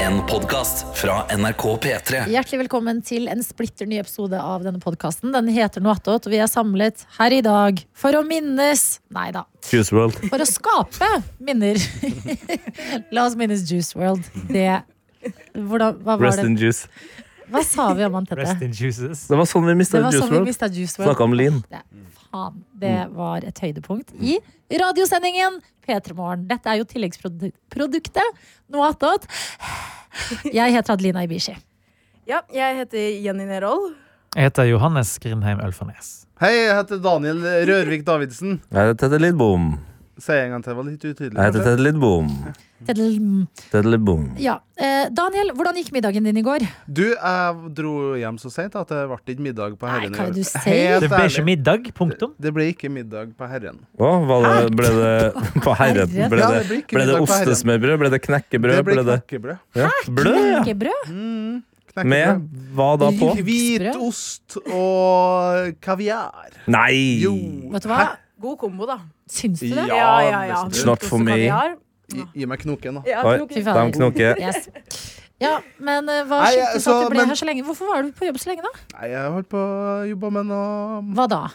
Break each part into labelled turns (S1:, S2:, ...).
S1: En podcast fra NRK P3
S2: Hjertelig velkommen til en splitter ny episode av denne podkasten. Den heter noe attåt, og vi er samlet her i dag for å minnes Nei da.
S3: Juice World.
S2: For å skape minner. La oss minnes Juice World. Det hvordan, hva, var
S3: Rest
S2: det?
S3: in juice.
S2: hva sa vi om han
S4: Rest
S2: Tette?
S4: in juices.
S3: Det var sånn vi
S2: Det
S3: mista
S2: var
S3: Juice
S2: sånn vi
S3: World.
S2: mista Juice World.
S3: Snakka om Mm. Lean.
S2: Det, faen, det var et høydepunkt i radiosendingen P3 Morgen. Dette er jo tilleggsproduktet noe attåt. Jeg heter Adelina Ibishi.
S5: Ja, jeg heter Jenny Nerol.
S4: Jeg heter Johannes Grindheim Ølfarnes.
S6: Hei, jeg heter Daniel Rørvik Davidsen.
S3: Jeg heter Tete Lidbom.
S6: Sier jeg en gang til, det var litt utydelig.
S3: Jeg heter
S6: kanskje?
S3: Tete Lidbom.
S2: Tedel-
S3: Tete Lidbom.
S2: Ja. Eh, Daniel, hvordan gikk middagen din i går?
S6: Du, jeg dro hjem så seint at det ble ikke middag på
S2: Nei,
S6: Herren. i
S2: hva er det
S6: år.
S2: du sier?
S6: Helt
S4: Det ble
S6: ærlig.
S4: ikke middag, punktum.
S6: Det ble ikke middag på Herren.
S3: Å, var det, ble det på herren?
S2: Herren.
S3: Ble
S6: Ja,
S3: det,
S6: det blir ikke
S3: ble det
S6: middag på herren.
S3: ostesmørbrød? Ble det knekkebrød?
S6: Det ble
S3: Ble det
S6: knekkebrød.
S3: ja. Blød, ja.
S2: Knekkebrød?
S6: Mm, knekkebrød.
S3: Med hva da på?
S6: Hvit ost og kaviar.
S3: Nei!
S6: Jo.
S2: Vet du hva?
S6: Hæ?
S5: God kombo, da.
S2: Syns du det?
S6: Ja,
S5: Brunost
S3: Snart for
S5: og
S3: meg.
S5: kaviar.
S6: Gi, gi meg knoken, da.
S5: Ja,
S3: Oi.
S5: knok-
S2: Fy
S3: De
S2: fader.
S3: knoker.
S2: Yes. Ja, men eh, hva
S6: Nei,
S2: skyldtes
S6: så-
S2: at du ble
S6: men-
S2: her så lenge? Hvorfor var du på jobb så lenge, da?
S6: Nei, jeg holdt på å jobbe med noe
S2: Hva da?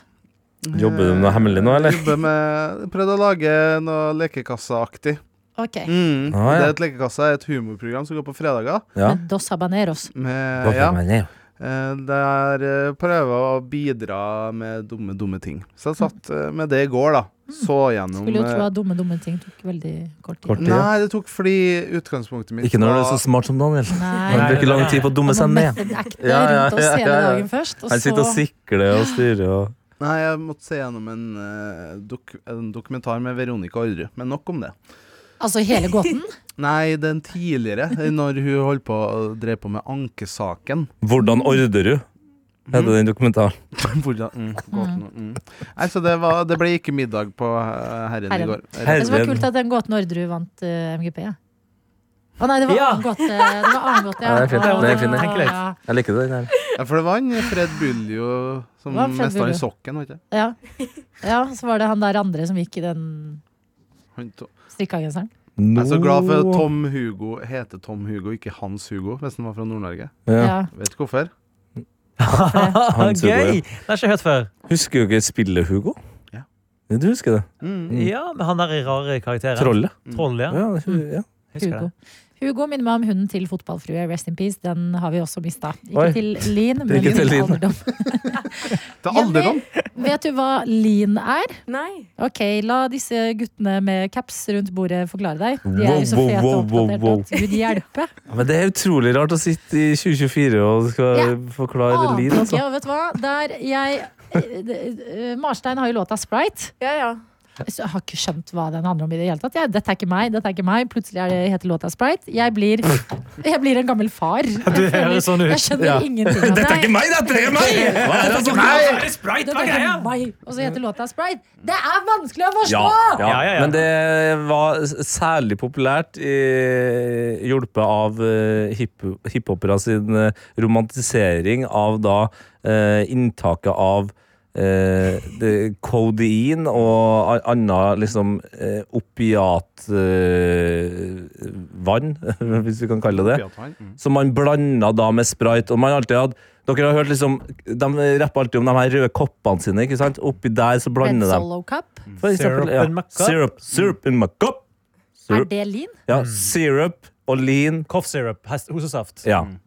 S3: Jobber du med noe hemmelig nå, eller?
S6: Jobbe med, Prøvde å lage noe lekekasseaktig.
S2: Ok.
S6: Mm.
S3: Ah, ja.
S6: Det er et lekekasse, et humorprogram som går på fredager.
S3: Ja.
S2: Med Dos Habaneros.
S6: Med, ja,
S3: Ja.
S6: Eh, Der eh, prøver jeg å bidra med dumme, dumme ting. Så jeg satt eh, med det i går, da. Så gjennom
S2: Skulle jo tro
S6: eh,
S2: at dumme, dumme ting tok veldig kort
S3: Mm, Kort.
S2: tid.
S6: Nei, det tok fordi utgangspunktet mitt
S3: Ikke når du er så smart som Daniel. Han
S2: Nei.
S4: Nei.
S3: bruker lang tid på å
S2: Man
S3: dumme seg
S2: må
S3: ned.
S2: mette ekte
S3: Ja, ja,
S2: rundt oss
S3: ja,
S2: hele
S3: ja, ja.
S2: dagen først, og
S3: Han sitter og
S2: så
S3: sikler og styrer og
S6: Nei, jeg måtte se gjennom en, eh, dok en dokumentar med Veronica Orderud. Men nok om det.
S2: Altså hele gåten?
S6: Nei, den tidligere, eh, når hun holdt på og drev på med ankesaken.
S3: Hvordan order du? Heter
S6: Mm.
S3: den dokumentaren.
S6: Hvordan mm, gåten, mm. Nei, så det, var, det ble ikke middag på eh, Herren,
S2: Herren.
S6: i går.
S2: Det som var
S3: Herren.
S2: kult, at den gåten Orderud vant eh, MGP. Å nei, det var
S4: Ja.
S2: annen gåte. Det var annen gåte, ja.
S3: Ja, det er fint.
S2: Å,
S3: Det er fint, det.
S4: Tenk litt.
S2: ja.
S3: Jeg liker den her.
S6: Ja, for det var han Fred Buljo som
S2: Det var Fred
S6: mesta
S2: Buljo.
S6: i sokken, var det ikke?
S2: Ja. ja, så var det han der andre som gikk i den
S6: Han to-
S2: strikka genseren.
S6: Jeg er så glad for at Tom Hugo heter Tom Hugo, ikke Hans Hugo, hvis han var fra Nord-Norge.
S3: Ja.
S2: Ja.
S6: Vet ikke hvorfor.
S3: Han tror det, ja.
S4: Gøy! Det har jeg ikke hørt før.
S3: Husker dere spillet Hugo?
S6: Ja.
S3: Du husker det? Mm.
S4: Ja, men han der i rare karakterer. Mm.
S3: Trollet.
S4: Troll, ja.
S3: Ja, Mm. det- ja.
S4: Husker
S2: Hugo.
S4: det.
S2: Hugo minner meg om hunden til fotballfrue. Rest in peace. Den har vi også mista. Ikke
S3: Oi.
S2: til Lean, men
S3: Ikke
S2: til
S3: til Lean.
S2: alderdom.
S6: Til alderdom!
S2: Vet du hva Lean er?
S5: Nei.
S2: Ok, La disse guttene med caps rundt bordet forklare deg. De er
S3: Wow,
S2: jo så
S3: wow,
S2: fete
S3: wow,
S2: og oppdaterte
S3: wow,
S2: at gud hjelpe.
S3: Men det er utrolig rart å sitte i 2024 og skal
S2: Ja.
S3: forklare
S2: Aner
S3: Lin,
S2: ikke,
S3: altså.
S2: og vet du hva? Der jeg eh, eh, Marstein har jo låta Sprite.
S5: Ja, ja.
S2: Så Jeg har ikke skjønt hva den handler om. i det hele tatt jeg, Dette er ikke meg. dette er ikke meg Plutselig er det, heter låta Sprite. Jeg blir, jeg blir en gammel far. Jeg,
S4: høres sånn ut.
S2: jeg skjønner
S3: Ja.
S2: ingenting av det.
S3: er ikke meg, dette er meg! Hva er det som
S2: Det er ikke meg. Og så heter låta Sprite. Det er vanskelig å forstå!
S3: Ja,
S4: Ja, ja,
S3: ja.
S4: ja.
S3: Men det var s- særlig populært i, hjulpet av eh, hip- hiphopera sin eh, romantisering av da eh, inntaket av eh, det, kodein og a- anna liksom eh, opiatvann, hvis vi kan kalle det det. Som man blanda da med sprite. Og man alltid hadde dere har hørt liksom, De rapper alltid om de her røde koppene sine. ikke sant? Oppi der så
S2: Red
S3: blander de
S2: Solo Cup.
S3: for eksempel,
S4: Syrup
S3: ja.
S4: in my cup.
S3: Syrup, syrup in my cup.
S2: Er
S3: Syrup.
S2: det lean?
S4: Mm.
S3: Ja, syrup og lean.
S4: Cough syrup. hest- Hosesaft.
S3: Ja.
S4: Mm.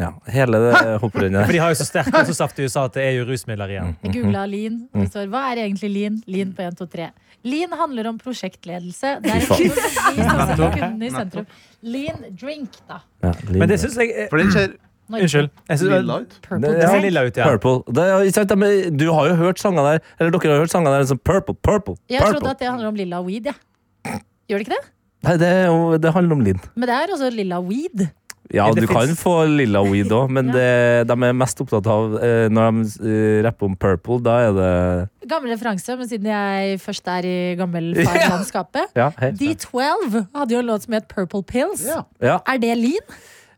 S3: ja. Hele det hopprennet
S4: For
S3: der.
S4: de har jo så sterk hosesaft i USA at det er jo rusmidler igjen.
S3: Mm.
S2: Jeg googla lean.
S3: Mm-hmm.
S2: og Det står, hva er egentlig lean? Lean på 1, 2, 3. Lean handler om prosjektledelse. Det er en
S3: Fy
S2: teknologi som setter kundene i sentrum. Lean drink, da.
S3: Ja, lean.
S4: Men det syns jeg er
S6: For den ser
S2: Norge.
S4: Unnskyld. Jeg synes,
S6: lilla Mm. ut.
S2: Purple
S3: Det-
S4: det ser
S2: drink.
S4: lilla ut, ja.
S3: Purple. Det, er- ikke sant, de er- du har jo hørt sanger der Eller dere har hørt sanger der som purple, purple,
S2: Jeg trodde
S3: purple.
S2: at det handler om lilla weed, jeg. Gjør det ikke det?
S3: Nei, det, er jo- det handler om lean.
S2: Men det er også lilla weed.
S3: Ja,
S4: Det
S3: du kan
S4: finnes-
S3: få lilla weed òg, men det, de er mest opptatt av eh, Når de eh, rapper om purple, da er det
S2: Gammel referanse, men siden jeg først er i gammelfarlandskapet.
S3: Ja, hei.
S2: D12 hadde jo en låt som het Purple Pills.
S6: Ja.
S3: Ja.
S2: Er det lean?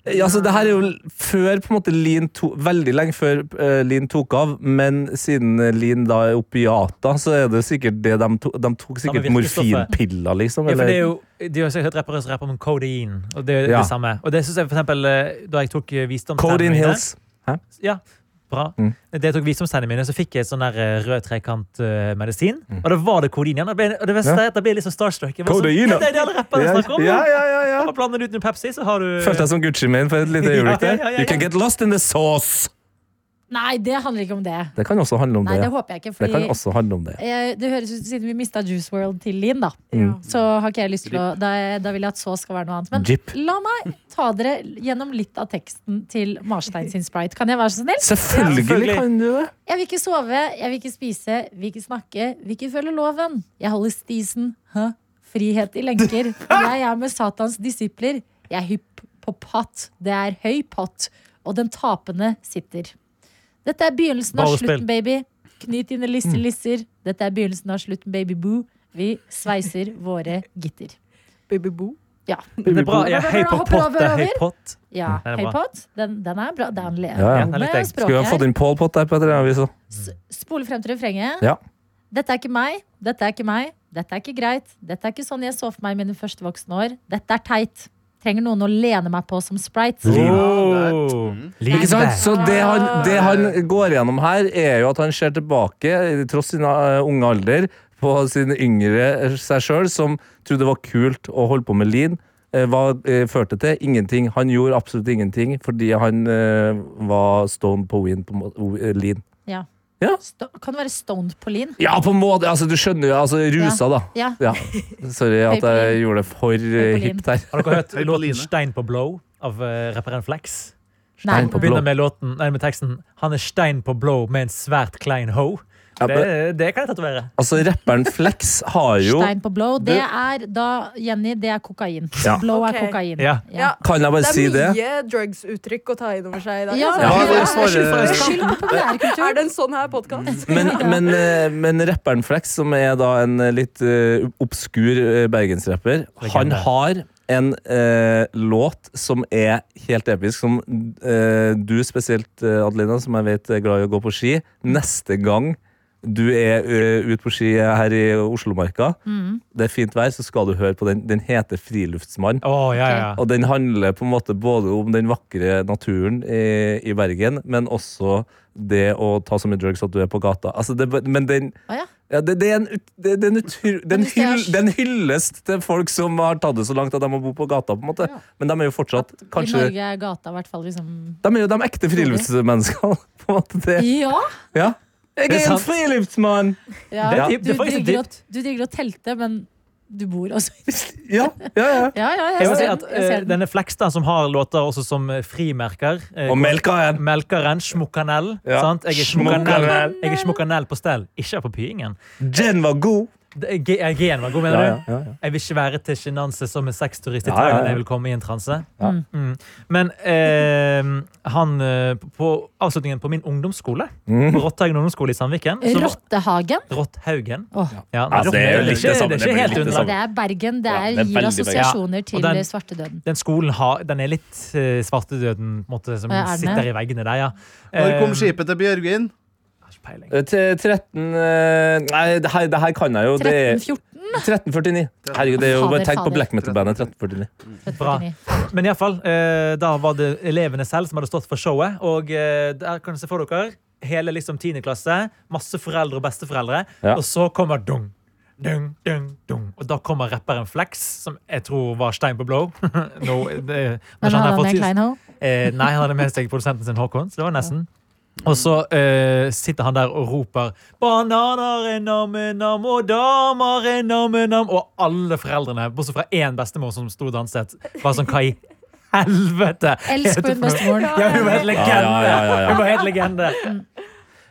S3: Ja, altså, det her er jo l- før på en måte Lin to, Veldig lenge før eh, Lin tok av, men siden eh, Lin da er opiata, så er det sikkert det de tok. De tok sikkert
S4: Samme virkestoffet.
S3: morfinpiller, liksom.
S4: Ja, for det er
S3: Eller,
S4: jo, de har sikkert rappere som rapper om kodein, og det er
S3: Ja.
S4: det samme. Og det synes jeg for eksempel eh, da jeg tok eh,
S3: Codeine
S4: visdomstennene mine-
S3: Hills.
S4: Ja, bra.
S3: Mm.
S4: Da jeg tok visdomstennene mine, så fikk jeg sånn der eh, rød trekant-medisin.
S3: Mm.
S4: Og da var det kodein igjen. Og det ble, og det beste er at jeg ble litt sånn starstruck. Jeg var sånn,
S3: Kodein, ja.
S4: ja. Det er det alle rapperne
S3: Ja,
S4: snakker om.
S3: ja, ja, ja, ja.
S4: Bare blander det ut med Pepsi, så har du
S3: Følte jeg som Gucci-man for et lite øyeblikk
S4: Ja,
S3: der.
S4: ja, ja, ja.
S3: You can get lost in the sauce!
S2: Nei, det handler ikke om det.
S3: Det kan også handle om
S2: Nei,
S3: det.
S2: det
S3: ja.
S2: håper jeg ikke.
S3: Det
S2: Fordi
S3: kan også handle om det.
S2: eh, det høres ut som siden vi mista Juice World til Linn, da.
S3: Mm.
S5: Ja.
S2: Så har ikke jeg lyst til å Da, da vil jeg at så skal være noe annet. Men
S3: Jip.
S2: la meg ta dere gjennom litt av teksten til Marstein sin Sprite. Kan jeg være så snill?
S3: Selvfølgelig
S4: selvfølgelig.
S3: kan du det.
S2: Jeg vil ikke sove, jeg vil ikke spise, vil ikke snakke, vil ikke følge loven. Jeg holder stisen. Hæ? Frihet i lenker. Og jeg er med Satans disipler. Jeg er hypp på pott. Det er høy pott. Og den tapende sitter. Dette er begynnelsen av
S4: Bare spill.
S2: slutten, baby. Knyt dine lisser,
S3: Mm.
S2: lisser. Dette er begynnelsen av slutten, baby boo. Vi sveiser våre gitter.
S5: Baby boo.
S2: Ja.
S4: Det er bra. Jeg er høy på
S2: Hopper
S4: pott. Det er
S2: over,
S4: høy
S2: over.
S4: pott.
S2: ja.
S3: Mm.
S4: Den er
S2: Høy
S4: bra.
S2: pott. Den, den er bra. Det er en le-
S3: Ja, ja.
S2: noe
S4: Den er litt
S2: med språket
S4: ekte.
S3: Skulle vi ha
S2: her.
S3: fått inn Pål Pott der på et eller annet vis. da?
S2: Spole frem til refrenget.
S3: Ja.
S2: Dette er ikke meg. Dette er ikke meg. Dette er ikke greit. Dette er ikke sånn jeg så for meg i mine første voksne år. Dette er teit. Trenger noen å lene meg på som sprite.
S3: Lin.
S4: Oh.
S3: Ikke sant?
S4: Det.
S3: Så det han, det han går gjennom her, er jo at han ser tilbake, tross sin eh, unge alder, på sin yngre eh, seg sjøl, som trodde det var kult å holde på med lean. Eh, Hva eh, førte til? Ingenting. Han gjorde absolutt ingenting fordi han eh, var stone på win på må- o- eh, lean.
S2: Sto kan det være stoned på Lin?
S3: Ja, på en måte! Altså, du skjønner jo. Altså, rusa, da.
S2: Ja.
S3: Ja. Sorry at jeg gjorde det for eh,
S2: Høy på lean.
S3: hipt her.
S4: Har dere hørt
S6: Høy på line.
S4: låten 'Stein på blow' av eh, rapperen Flex?
S2: Nei.
S3: Stein på blå.
S4: Begynner med, låten, nei, med teksten 'Han er stein på blow med en svært klein ho'.
S3: Ja, men,
S4: Det, det kan jeg tatovere.
S3: altså, rapperen Flex har jo
S2: Stein på blow.
S3: Du-
S2: Det er da, Jenny, det er kokain.
S3: Ja.
S2: Blow er
S5: Ok.
S2: kokain.
S4: Ja.
S2: Ja.
S3: Kan jeg
S5: Det
S3: bare si
S5: er
S3: det?
S5: mye drugsuttrykk å ta inn over seg i dag.
S2: Ja,
S5: altså.
S2: Ja,
S6: det
S5: Skyld
S6: er
S5: for
S6: svaret-
S5: det.
S2: Skyld på populærkultur.
S5: Er det en sånn her podkast?
S3: Men, men, eh, men rapperen Flex, som er da en eh, litt eh, obskur eh, bergensrapper, han
S4: Legende.
S3: har en eh, låt som er helt episk, som eh, du spesielt, eh, Adelina, som jeg vet er glad i å gå på ski, neste gang du er eh, ute på ski her i Oslomarka, det er fint vær, så skal du høre på den. Den heter Friluftsmann.
S4: Å, ja, ja.
S3: Og den handler på en måte både om den vakre naturen i, i Bergen, men også det å ta så mye drugs at du er på gata. Altså det, men den,
S2: Å ja.
S3: ja, det, det er en, ut- det, det er en, utru, det er en,
S2: hvis det er
S3: hyll,
S2: s-
S3: det er en hyllest til folk som har tatt det så langt at de må bo på gata. på en måte.
S2: Ja.
S3: Men de er jo fortsatt
S2: I
S3: kanskje,
S2: Norge er gata i hvert fall liksom
S3: De er jo de ekte friluftsmenneskene. på en måte det.
S2: Ja!
S3: Ja. Jeg
S4: Det er
S3: er en
S4: sant.
S3: friluftsmann!
S2: ja.
S3: Det er
S4: dypt,
S2: Du,
S4: det er faktisk
S2: digger å,
S4: dypt.
S2: du digger å telte, men du bor også
S3: Ja, ja,
S2: Ja,
S3: ja.
S2: ja,
S4: Jeg
S2: jeg
S4: må si
S2: ser
S4: at
S2: den. Jeg
S4: eh,
S2: ser den.
S4: denne Flex, da, som har låter også som eh, frimerker eh,
S3: Og melka en.
S4: Melkeren, Schmuckanell.
S3: Ja.
S4: Sant? Jeg er
S3: Schmuckanell.
S4: Schmuckanell Jeg er schmuckanell på stell, ikke på pyingen.
S3: Den var god!
S4: Det er G- eh, G-en var god,
S3: Ja,
S4: mener
S3: ja,
S4: du?
S3: ja, ja.
S4: Jeg vil ikke være til sjenanse som en sexturist i
S3: Ja, ja, ja.
S4: Thailand. Jeg vil komme i en transe.
S3: Ja.
S4: Mm. Men eh, han eh, På avslutningen på min ungdomsskole,
S3: Mm.
S4: på Rottehaugen ungdomsskole i Sandviken så var-
S2: Rottehagen.
S4: Rothaugen.
S2: Åh.
S4: Ja,
S3: Ja, Altså, det er jo litt det
S4: ikke,
S3: samme,
S4: det er
S3: det
S4: ikke
S3: blir
S4: helt
S3: litt det
S4: under.
S3: samme.
S2: Det er Bergen. Det,
S3: Ja,
S2: er,
S3: det er
S2: gir
S3: veldig
S2: assosiasjoner til
S4: Og den-
S2: eh, svartedøden.
S4: Den skolen har, den er litt eh, svartedøden på en måte, som
S2: Ja, er den
S4: sitter
S2: det?
S4: i veggene der, ja.
S6: Når kom
S4: Eh,
S6: skipet til Bjørgvin?
S4: jeg har ikke peiling.
S3: Eh, Til 13 eh, Nei, det her, det her kan jeg jo. Det er
S2: 13-14.
S3: 1349. Herregud, det er jo bare
S2: Fader,
S3: tenk på
S2: fader.
S3: black metal-bandet 1349.
S4: Bra. Men iallfall, eh, da var det elevene selv som hadde stått for showet. Og eh, der kan du se for dere hele liksom 10. klasse, masse foreldre og besteforeldre.
S3: Ja.
S4: Og så kommer dung, dung, dung, dung. Og da kommer rapperen Flex, som jeg tror var stein på blow. Nå, det,
S2: Men
S4: han
S2: hadde
S4: har
S2: han
S4: fått-
S2: med Klein Ho?
S4: Eh, nei, han hadde med seg produsenten sin Håkon, så det var nesten. Og så eh, sitter han der og roper 'Bananer er nam-nam, og damer er nam-nam'. Og alle foreldrene, bortsett fra én bestemor som sto og danset, var sånn 'hva i helvete'?
S2: Elsk på hun
S4: Heter for noe?»
S2: bestemoren.
S4: Ja, hun var helt
S3: Ja, ja,
S4: legende!
S3: ja, ja, ja.
S4: Hun var helt legende.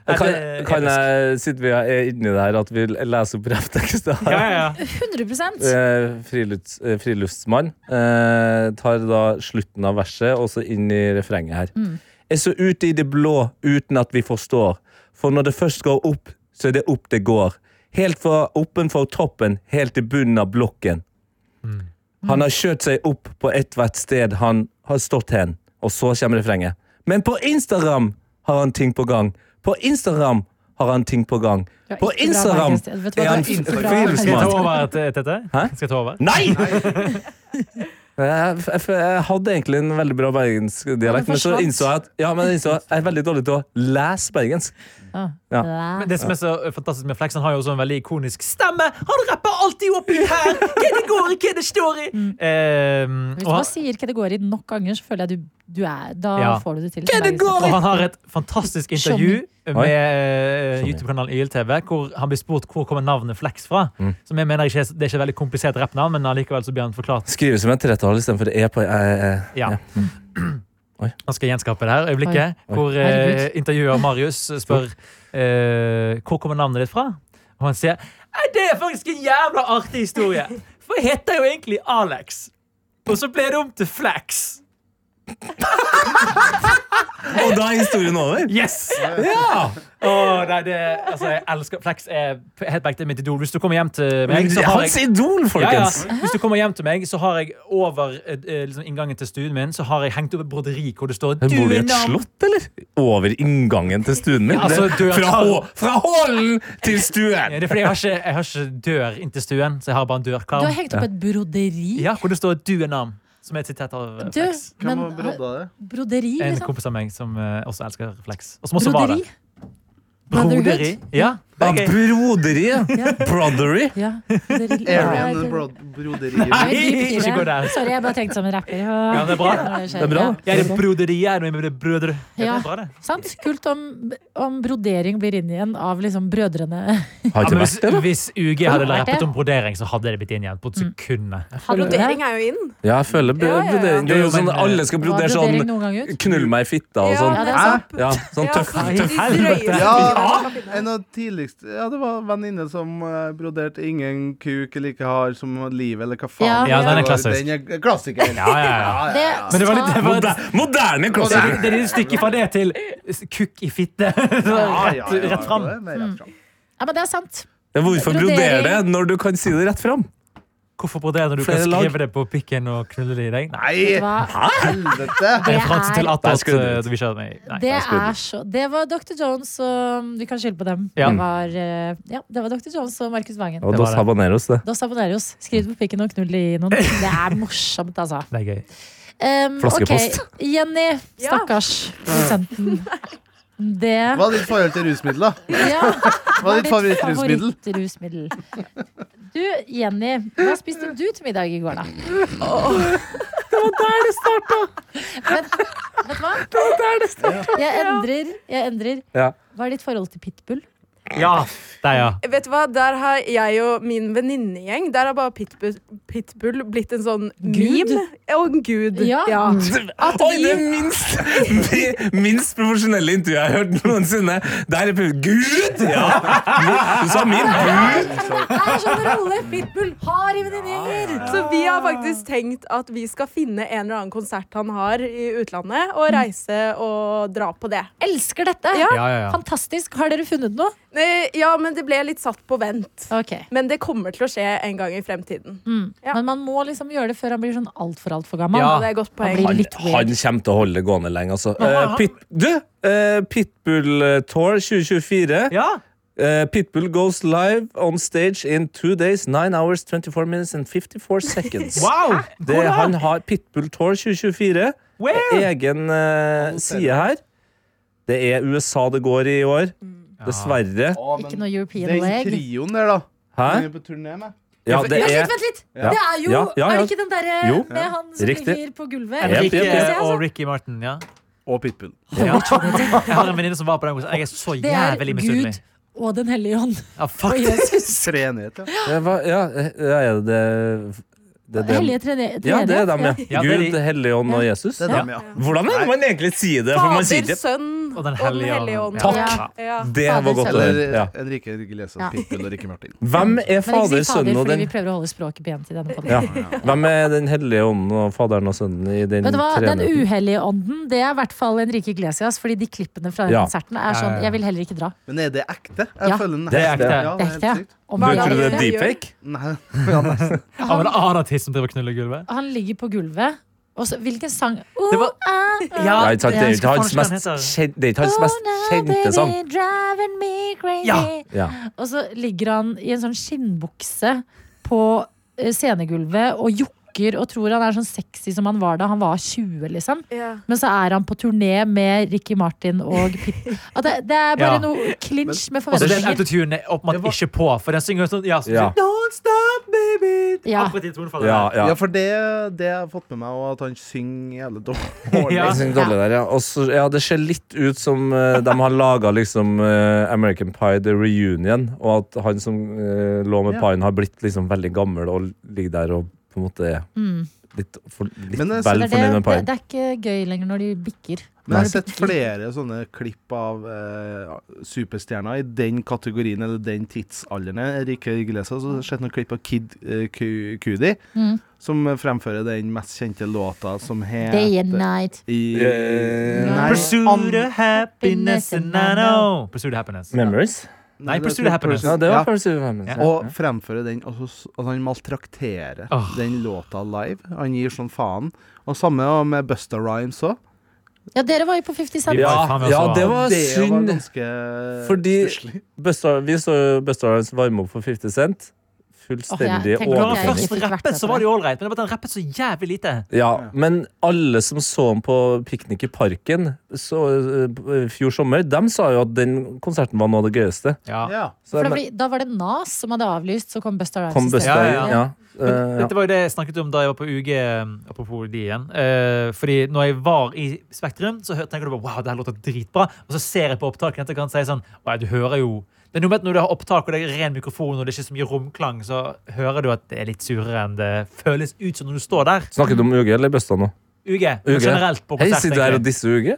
S4: Ja,
S3: Kan,
S4: det er
S3: kan
S4: episk.
S3: jeg, siden vi er inni det her, at vi leser opp rapptekster her?
S4: Ja, ja, ja.
S2: 100
S3: Eh, Frilufts, eh, friluftsmann eh, tar da slutten av verset og så inn i refrenget her.
S2: Mm.
S3: Er så ute i det blå uten at vi forstår. For når det først går opp, så er det opp det går. Helt fra oppenfor toppen, helt til bunnen
S4: Mm.
S3: av blokken. Han har kjørt seg opp på ethvert sted han har stått hen. Og så kommer refrenget. Men på Instagram har han ting på gang. På Instagram har han ting på gang.
S2: Det var
S3: På
S2: ikke bra,
S3: Instagram
S2: Markus. Vet du hva,
S3: er han
S2: det var ikke bra.
S4: Skal jeg ta
S3: friluftsmann.
S4: over, T- Tete?
S3: Hæ?
S4: Skal jeg ta over?
S3: Nei! Jeg, jeg, jeg hadde egentlig en veldig bra
S2: Ja, det
S3: bergensdialekt, men så
S2: forsvant.
S3: innså jeg at ja, men jeg, innså at jeg er veldig dårlig til å lese bergensk.
S2: Ah,
S3: Ja.
S2: blæ.
S4: Men det som er så fantastisk med Flex, han har jo også en veldig ikonisk stemme. Han rapper alltid oppi her! Hva det går i, hva det står i? Eh,
S2: Mm. Hvis
S4: og
S2: man
S4: han,
S2: sier kategori nok ganger, så føler jeg du, du er Da
S4: Ja.
S2: får du det til. liksom-
S4: og han har et fantastisk intervju
S3: Oi.
S4: med eh,
S3: Johnny.
S4: YouTube-kanalen YLTV, hvor han blir spurt hvor kommer navnet Flex fra.
S3: Mm.
S4: Som jeg mener ikke, er- Det er ikke et veldig komplisert rappnavn, men allikevel så blir han forklart.
S3: Skrives som et tretall istedenfor e på e. e.
S4: Ja.
S3: Ja. Mm.
S4: Han skal gjenskape det her øyeblikket,
S3: Oi.
S4: hvor eh,
S2: Herregud.
S4: intervjuer Marius spør eh, hvor kommer navnet ditt fra. Og han sier «Nei, det er faktisk en jævla artig historie, for jeg heter jo egentlig Alex. Og så ble det om til Flax.
S3: Og da er historien over!
S4: Yes!
S3: Ja!
S4: Åh, nei, det, altså, jeg elsker Flex. Er helt back, det er mitt idol. Hvis du kommer hjem til meg, så har jeg
S3: Hans idol, folkens!
S4: Ja, ja. Hvis du kommer hjem til meg, så har jeg over eh, eh, liksom, inngangen til stuen min Så har jeg hengt opp et broderi hvor det står
S3: Bor du i
S4: er
S3: et
S4: nam-
S3: slott, eller? Over inngangen til stuen min?
S4: Ja, altså,
S3: Det-
S4: du er-
S3: fra, hå- fra hålen til stuen!
S4: Ja, det er fordi jeg har, ikke, jeg har ikke dør inntil stuen, så jeg har bare en
S2: Du har
S4: dørkarm.
S2: hengt opp et broderi.
S4: Ja, hvor det står 'du er nam', som er et sitat av eh,
S2: Du,
S4: Flex.
S2: men
S6: Hvem har brodda det?
S2: broderi,
S4: En
S2: liksom?
S4: kompis av meg som eh, også elsker Flex. Og som også var det.
S2: Brotherhood?
S4: Broderi. Ja, det
S3: Ja,
S4: er gøy.
S3: broderiet!
S2: Ja.
S3: Brodery!
S2: Ja, broderi.
S6: Arian
S2: Nei,
S6: brod broderi.
S4: Nei,
S2: det er dypt i det.
S4: ikke gå der.
S2: Sorry, jeg bare tenkte som en rapper. Ja,
S4: det er bra.
S3: Det er bra.
S4: Jeg er et broderi, jeg er med brødre. Ja, det er bra, det.
S2: Sant? Kult om, om brodering blir inn igjen av liksom brødrene.
S3: Har
S4: Ja,
S3: ikke
S4: men hvis,
S3: vært det, da?
S4: hvis UG hadde
S2: Har det vært
S4: rappet
S2: det? Mm.
S4: om brodering, så hadde det blitt inn igjen på et sekund.
S5: Brodering er jo inn.
S3: Ja, jeg føler bro-
S5: Ja, ja, ja.
S3: brodering Det er jo
S4: Jo, men,
S3: sånn alle skal
S2: Var
S3: brodere
S2: brodering
S3: sånn
S2: noen gang ut?
S3: Knull meg i fitta og sånn.
S2: Ja, det er sant.
S3: Ja, sånn tøff,
S5: Ja,
S3: tøff.
S5: de drøyeste
S6: Ja.
S5: kapitlene.
S6: En av tidligste Ja, det var en venninne som eh, broderte 'Ingen kuk er like hard som liv', eller hva
S2: Ja.
S6: faen.
S4: Ja, den er
S6: Det var-
S4: klassisk.
S6: Den er klassikeren.
S4: Ja, ja, ja.
S2: Det,
S4: Men det var litt, det var
S3: Moder, moderne
S4: det
S3: klassiker!
S4: er- det er et stykke fra det til s- kukk i fitte.
S6: Ja,
S4: Rett,
S6: ja, ja,
S4: rett fram.
S6: det er mer rett fram.
S2: ja, men det er sant.
S3: Ja, Hvorfor brodere det når du kan si det rett fram?
S4: Hvorfor broderer når du
S3: Flere
S4: kan
S3: lag.
S4: skrive det på pikken og knulle det i deg? Nei.
S2: Vet du
S6: Nei,
S2: hva?
S6: helvete!
S4: Det er fransk til
S3: Nei,
S4: attåt.
S3: skru det
S4: eh,
S3: ut.
S4: du vil ikke ha meg. Nei.
S2: Det
S3: jeg skulle-
S2: er så Det var Dr. Jones og Vi kan skylde på dem.
S4: Ja.
S2: Det, var, eh, ja, det var Dr. Jones og Markus Vangen.
S3: Og
S4: Det
S3: Dos
S4: var det.
S3: Habaneros, det.
S2: Dos Aboneros. Skriv det på pikken og knull i noen. Det er morsomt, altså.
S4: Det er gøy.
S2: Um,
S3: Flaskepost.
S2: ok. Jenny,
S5: Ja.
S2: stakkars produsenten. Det
S6: Hva er ditt forhold til rusmidler? da?
S2: ja,
S6: Hva er ditt favorittrusmiddel?
S2: favorittrusmiddel? Du, Jenny, hva spiste du til middag i går, da? det var der det starta! Men vet du hva? Det var der det starta. Jeg endrer. Jeg endrer.
S3: Ja.
S2: Hva er ditt forhold til pitbull?
S4: Ja, der, ja.
S5: Vet du hva, der har jeg og min venninnegjeng Der har bare Pitbull, Pitbull blitt en sånn
S2: Gud?
S5: meme. Og en gud.
S2: Ja.
S3: Oi, det er minst, minst profesjonelle intervjuet jeg har hørt noensinne. Der er pu- Gud! Ja! Du sa min Gud!
S2: Det er sånn rolle pitbull har i venninnegjenger!
S5: Så vi har faktisk tenkt at vi skal finne en eller annen konsert han har i utlandet, og reise og dra på det.
S2: Elsker dette!
S5: Ja.
S4: Ja, ja, ja.
S2: Fantastisk. Har dere funnet noe?
S5: Eh, Ja, men det ble litt satt på vent.
S2: Ok.
S5: Men det kommer til å skje en gang i fremtiden. Ja.
S2: Men man må liksom gjøre det før han blir sånn altfor, altfor gammel.
S4: Ja.
S5: Det er et godt
S2: Han
S5: poeng.
S2: blir
S3: Han,
S2: litt
S3: han
S2: weird.
S3: kommer til å holde det gående lenge, altså. Eh, pit, du! eh, Pitbull Tour 2024.
S4: ja.
S3: Eh, Pitbull goes live on stage in two days, nine hours, 24 minutes and 54 seconds.
S4: Wow!
S3: Det,
S4: Hvor da?
S3: han har Pitbull Tour 2024.
S4: Where?
S3: Egen eh, side her. Det er USA det går i i år. Dessverre.
S6: Å, men
S2: Ikke noe European
S6: Den
S2: leg.
S6: trioen der, da.
S3: Hæ?
S6: Den er på turné med.
S3: Ja, det
S2: Vent litt,
S3: er
S2: vent litt!
S3: Ja.
S2: Det er jo
S3: Ja, ja,
S2: Er
S3: ja.
S2: det ikke den derre
S3: Jo.
S2: med han som
S3: Riktig.
S2: ligger på gulvet?
S3: Jep, jep,
S4: Henrik
S3: jep.
S2: Se,
S4: eh,
S2: altså.
S4: og Ricky Martin, ja.
S6: Og Pitbull.
S4: ja. Jeg har en venninne som var på den konserten. Jeg er så
S2: Det er
S4: jævlig misunnelig.
S2: Gud og Den hellige ånd.
S4: Ja,
S2: Og
S4: faktisk.
S2: Jesus.
S6: Treenighet, ja.
S3: det var, Ja, eh, ja, er det det, det, det
S2: Hellige tredje.
S3: Ja, det er dem, ja.
S4: Ja, det er de.
S3: Gud, Helligånd og Jesus.
S6: Det er
S2: Ja.
S6: dem, ja.
S3: Hvordan er det man egentlig sier det? For man sier
S5: Fader,
S3: det.
S5: sønn
S4: Og Den hellige ånd.
S5: ånd.
S3: Takk.
S5: Ja. Ja.
S3: Det var godt å
S6: Eller
S3: høre. Ja.
S6: Enrique Iglesias,
S2: Ja.
S6: Pitbull og Ricky Martin.
S3: Hvem er
S2: Men ikke
S3: Fader,
S2: si fader,
S3: Sønnen og
S2: fordi
S3: Den
S2: vi prøver å holde språket pent i denne podden.
S3: Ja. Hvem er Den hellige ånden og Faderen og Sønnen i den
S2: Vet du hva, Den
S3: treenigheten?
S2: uhellige ånden, det er i hvert fall Enrique Iglesias. Fordi de klippene fra den
S3: Ja.
S2: konserten er
S4: Ja, ja,
S2: sånn
S4: ja.
S2: Jeg vil heller ikke dra.
S6: Men er det ekte? Jeg
S2: Ja.
S6: føler den
S3: Det er ekte.
S6: Ja,
S2: Det er ekte,
S6: helt
S2: ja.
S6: sykt.
S2: Om
S5: Hva
S3: Du
S2: han-
S3: tror det er
S5: det gjør?
S3: deepfake?
S6: Nei, ja, nei.
S4: Ja, men Aner tissen driver og knuller gulvet.
S2: Han ligger på gulvet, Og så, hvilken sang?
S4: Det var- Ja,
S3: Nei, takk, det er jo ikke hans
S4: hva faen
S3: mest,
S4: skal den hete?
S3: kjen- det er ikke hans
S2: Oh,
S3: mest kjente sang.
S4: Ja.
S3: Ja.
S2: Og så ligger han i en sånn skinnbukse på eh, scenegulvet og jokker og tror han er sånn sexy som han var da han var 20, liksom.
S5: Ja.
S2: Men så er han på turné med Ricky Martin og Pitt. At det, det er bare
S4: Ja.
S2: noe clinch med
S4: Og så den
S2: forventninger.
S4: autotunen er åpenbart
S6: Det var-
S4: ikke på, for den synger jo sånn ja, så-
S3: Ja.
S4: Don't stop, baby!
S2: Ja.
S4: Akkurat i tonefallet.
S3: Ja,
S4: der.
S3: ja.
S6: Ja, for det, det jeg har fått med meg, og at han synger jævlig dårlig.
S4: Ja.
S3: Jeg synes det er dårlig der, ja. Og så- ja, det ser litt ut som eh, de har laga liksom, eh, American Pie The Reunion, og at han som eh, lå med
S6: Ja.
S3: paien, har blitt liksom, veldig gammel og ligger der og på en måte er
S2: Mm.
S3: litt, for, litt
S6: Men
S3: vel
S6: jeg
S2: Det er, det,
S3: fornøyd med
S2: det,
S3: paien.
S2: det er ikke gøy lenger når de bikker.
S6: Men jeg har sett flere sånne klipp av eh, superstjerner i den kategorien eller den tidsalderen. Enrique Iglesias og så har jeg sett noen klipp av Kid eh, Cu- Cudi,
S2: Mm.
S6: som fremfører den mest kjente låta som
S2: Day and
S6: heter
S2: night.
S6: i,
S3: Eh,
S6: Nei,
S4: Pursue
S6: an-
S4: the happiness and I know Pursue the happiness.
S3: Memories?
S4: Nei,
S6: det
S4: Pursue
S6: tror jeg-
S4: Happiness.
S3: Ja, det var
S6: Ja.
S3: Pursue Memories. Ja.
S6: Og fremføre den altså, s- altså Han maltrakterer
S4: Åh.
S6: den låta live. Han gir sånn faen. Og samme med Busta Rhymes òg.
S2: Ja, dere var jo på 50 Cent.
S4: Ja.
S3: Ja, ja, det var
S6: Det var
S3: synd.
S6: ganske
S3: Fordi-
S6: stusslig.
S3: Busta- Vi så Busta varme opp for 50 Cent. Fullstendig
S2: Åh, jeg tenker
S4: Når
S2: Ok,
S4: han
S3: overtenning.
S4: først
S2: jeg fikk
S4: rappet,
S2: vært med
S4: så
S2: på det.
S4: var det jo all right, men det var at han rappet så jævlig lite.
S3: Ja, men alle som så ham på Piknik i parken så, eh, fjor sommer, dem sa jo at den konserten var noe av det gøyeste.
S4: Ja.
S6: Ja.
S3: Så
S2: For da,
S3: dem-
S2: ble- da var det Nas som hadde avlyst, så kom Busta Rhymes.
S3: kom
S2: i stedet.
S3: Busta
S4: Ja, ja,
S3: inn. Ja, Eh, ja.
S4: Dette var jo det jeg snakket om da jeg var på UG. eh, Apropos de igjen. Eh, fordi når jeg var i Spektrum, så hør- tenker du bare wow, det her låter dritbra. Og så ser jeg på opptaket etterkant og sier sånn «Å ja, du hører jo Det er noe med at Når du har opptak og det er ren mikrofon og det er ikke så mye romklang, så hører du at det er litt surere enn det føles ut som når du står der.
S3: Snakker du om UG eller Busta nå?
S4: UG.
S3: UG.
S4: Generelt på
S3: Hei,
S4: konsert.
S3: sitter du her og
S4: egentlig.
S3: disser UG?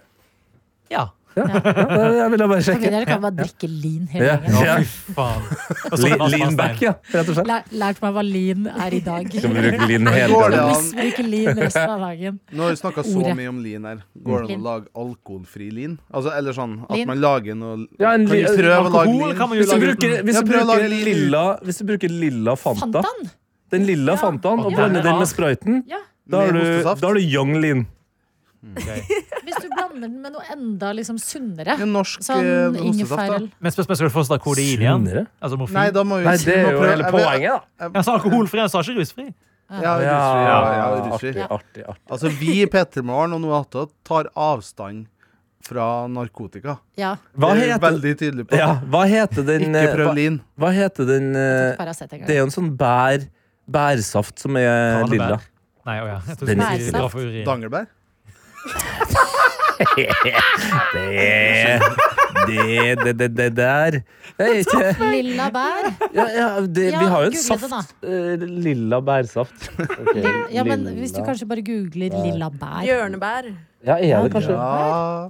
S4: Ja.
S3: Ja, det- jeg ville bare
S2: Ok,
S3: sjekke.
S2: dere kan bare drikke lean hele
S3: Ja.
S2: gjengen.
S4: Å, fy faen. Og så
S3: Lean,
S4: var det
S3: lean
S4: Smartstein.
S3: back, ja. Rett og slett.
S2: Lær- Lært meg hva lean er i dag.
S3: Skal vi bruke lean hele
S6: Går det
S3: dagen?
S6: an?
S2: Misbruke lean resten av dagen.
S6: Nå har vi snakka så
S2: Ordet.
S6: mye om lin her. Går det an
S2: Lin.
S6: å lage alkoholfri lin? Altså, eller sånn at
S2: Lin.
S6: man lager noe
S3: Ja, en
S6: Kan vi
S3: li-
S6: prøve å lage
S4: Alkohol
S6: lin?
S4: kan man jo
S3: Hvis du
S4: lage uten.
S3: bruker, hvis du
S6: Jeg prøver å
S3: bruker
S6: lage lin.
S3: lilla, hvis du bruker lilla Fanta,
S2: Fantan?
S3: den lilla Fantaen, og
S4: Ja.
S3: blander den med spriten,
S2: Ja.
S3: da har
S6: Med
S3: du,
S6: hostesaft?
S3: da har du young lean.
S2: Hvis du blander den med noe enda liksom sunnere.
S6: En norsk
S2: Sånn
S6: eh, hostesaft,
S2: ingefær
S6: da?
S2: eller
S4: Men spørsmålet er, skal du fortsatt kodein igjen?
S3: Sunnere?
S4: Altså morfin?
S6: Nei, da må vi
S3: Nei, det er
S6: vi må
S3: jo
S6: prøve-
S3: hele
S6: jeg vet-
S3: poenget, da.
S4: Han sa alkoholfri, han sa ikke rusfri.
S6: Ja, rusfri. Ja, ja, rusfri.
S3: Artig, artig, artig.
S6: Altså, vi i Petermorgen og Noata tar avstand fra narkotika.
S2: Ja.
S3: Hva
S6: det er
S3: heter,
S6: vi veldig tydelig på.
S3: ja, hva heter den
S6: Ikke
S3: eh,
S6: prøv
S3: hva,
S6: lin.
S3: hva heter den eh,
S2: Paracet en
S3: Det er
S2: gang.
S3: jo en sånn bær bærsaft som er
S4: Tranebær.
S3: lilla.
S4: Nei, å ja. Jeg trodde
S3: Den
S4: du
S2: er
S4: skulle
S2: ikke
S4: dra for urin.
S6: Dangelbær?
S3: Det det, det, det, det der Det er ikke
S2: Lilla bær.
S3: ja, ja, det,
S2: Ja,
S3: Vi har jo
S2: google
S3: en
S2: det da.
S3: saft. eh, lilla bærsaft. Ok,
S2: Ja, men hvis du
S3: lilla-
S2: kanskje bare googler lilla bær
S5: Bjørnebær.
S3: Ja, er det kanskje
S6: Ja.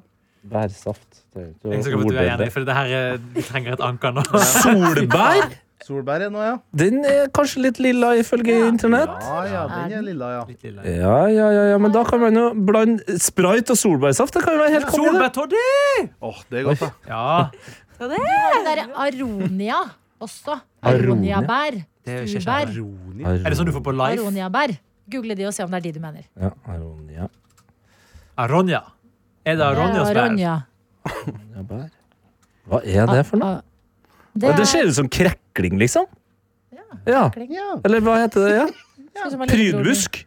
S3: bærsaft? Det er jo
S4: Jeg
S3: ikke
S4: skal gå til
S3: ordet,
S4: veien,
S3: det.
S4: for det her eh, vi trenger et anker nå.
S3: Solbær?
S6: Solbær er nå, ja.
S3: Den er kanskje litt lilla, ifølge internett.
S6: Ja, ja, den er lilla, ja.
S4: Litt lille.
S3: Ja, ja, ja, ja, men da kan man jo blande sprite og solbærsaft. Det kan jo være helt konge. det.
S4: Solbærtoddy!
S6: Åh, det er godt, da.
S4: Ja,
S2: Det der er aronia også.
S3: Aronia?
S2: Aroniabær.
S4: det er jo ikke
S2: Solbær.
S4: kjærlig.
S6: Roni.
S4: Er det sånn du får på Life?
S2: Aroniabær. Google de og se om det er de du mener.
S3: Ja, aronia.
S4: Aronja. Er det Aronjas bær?
S2: Aronia.
S3: Ja, bær. Hva er det for noe?
S2: Ah,
S3: Det,
S2: Det er
S3: det ser ut som krekling, liksom. Ja.
S6: Ja.
S3: Eller hva heter det? Ja.
S2: sånn som er lillebror din.
S3: Prydbusk.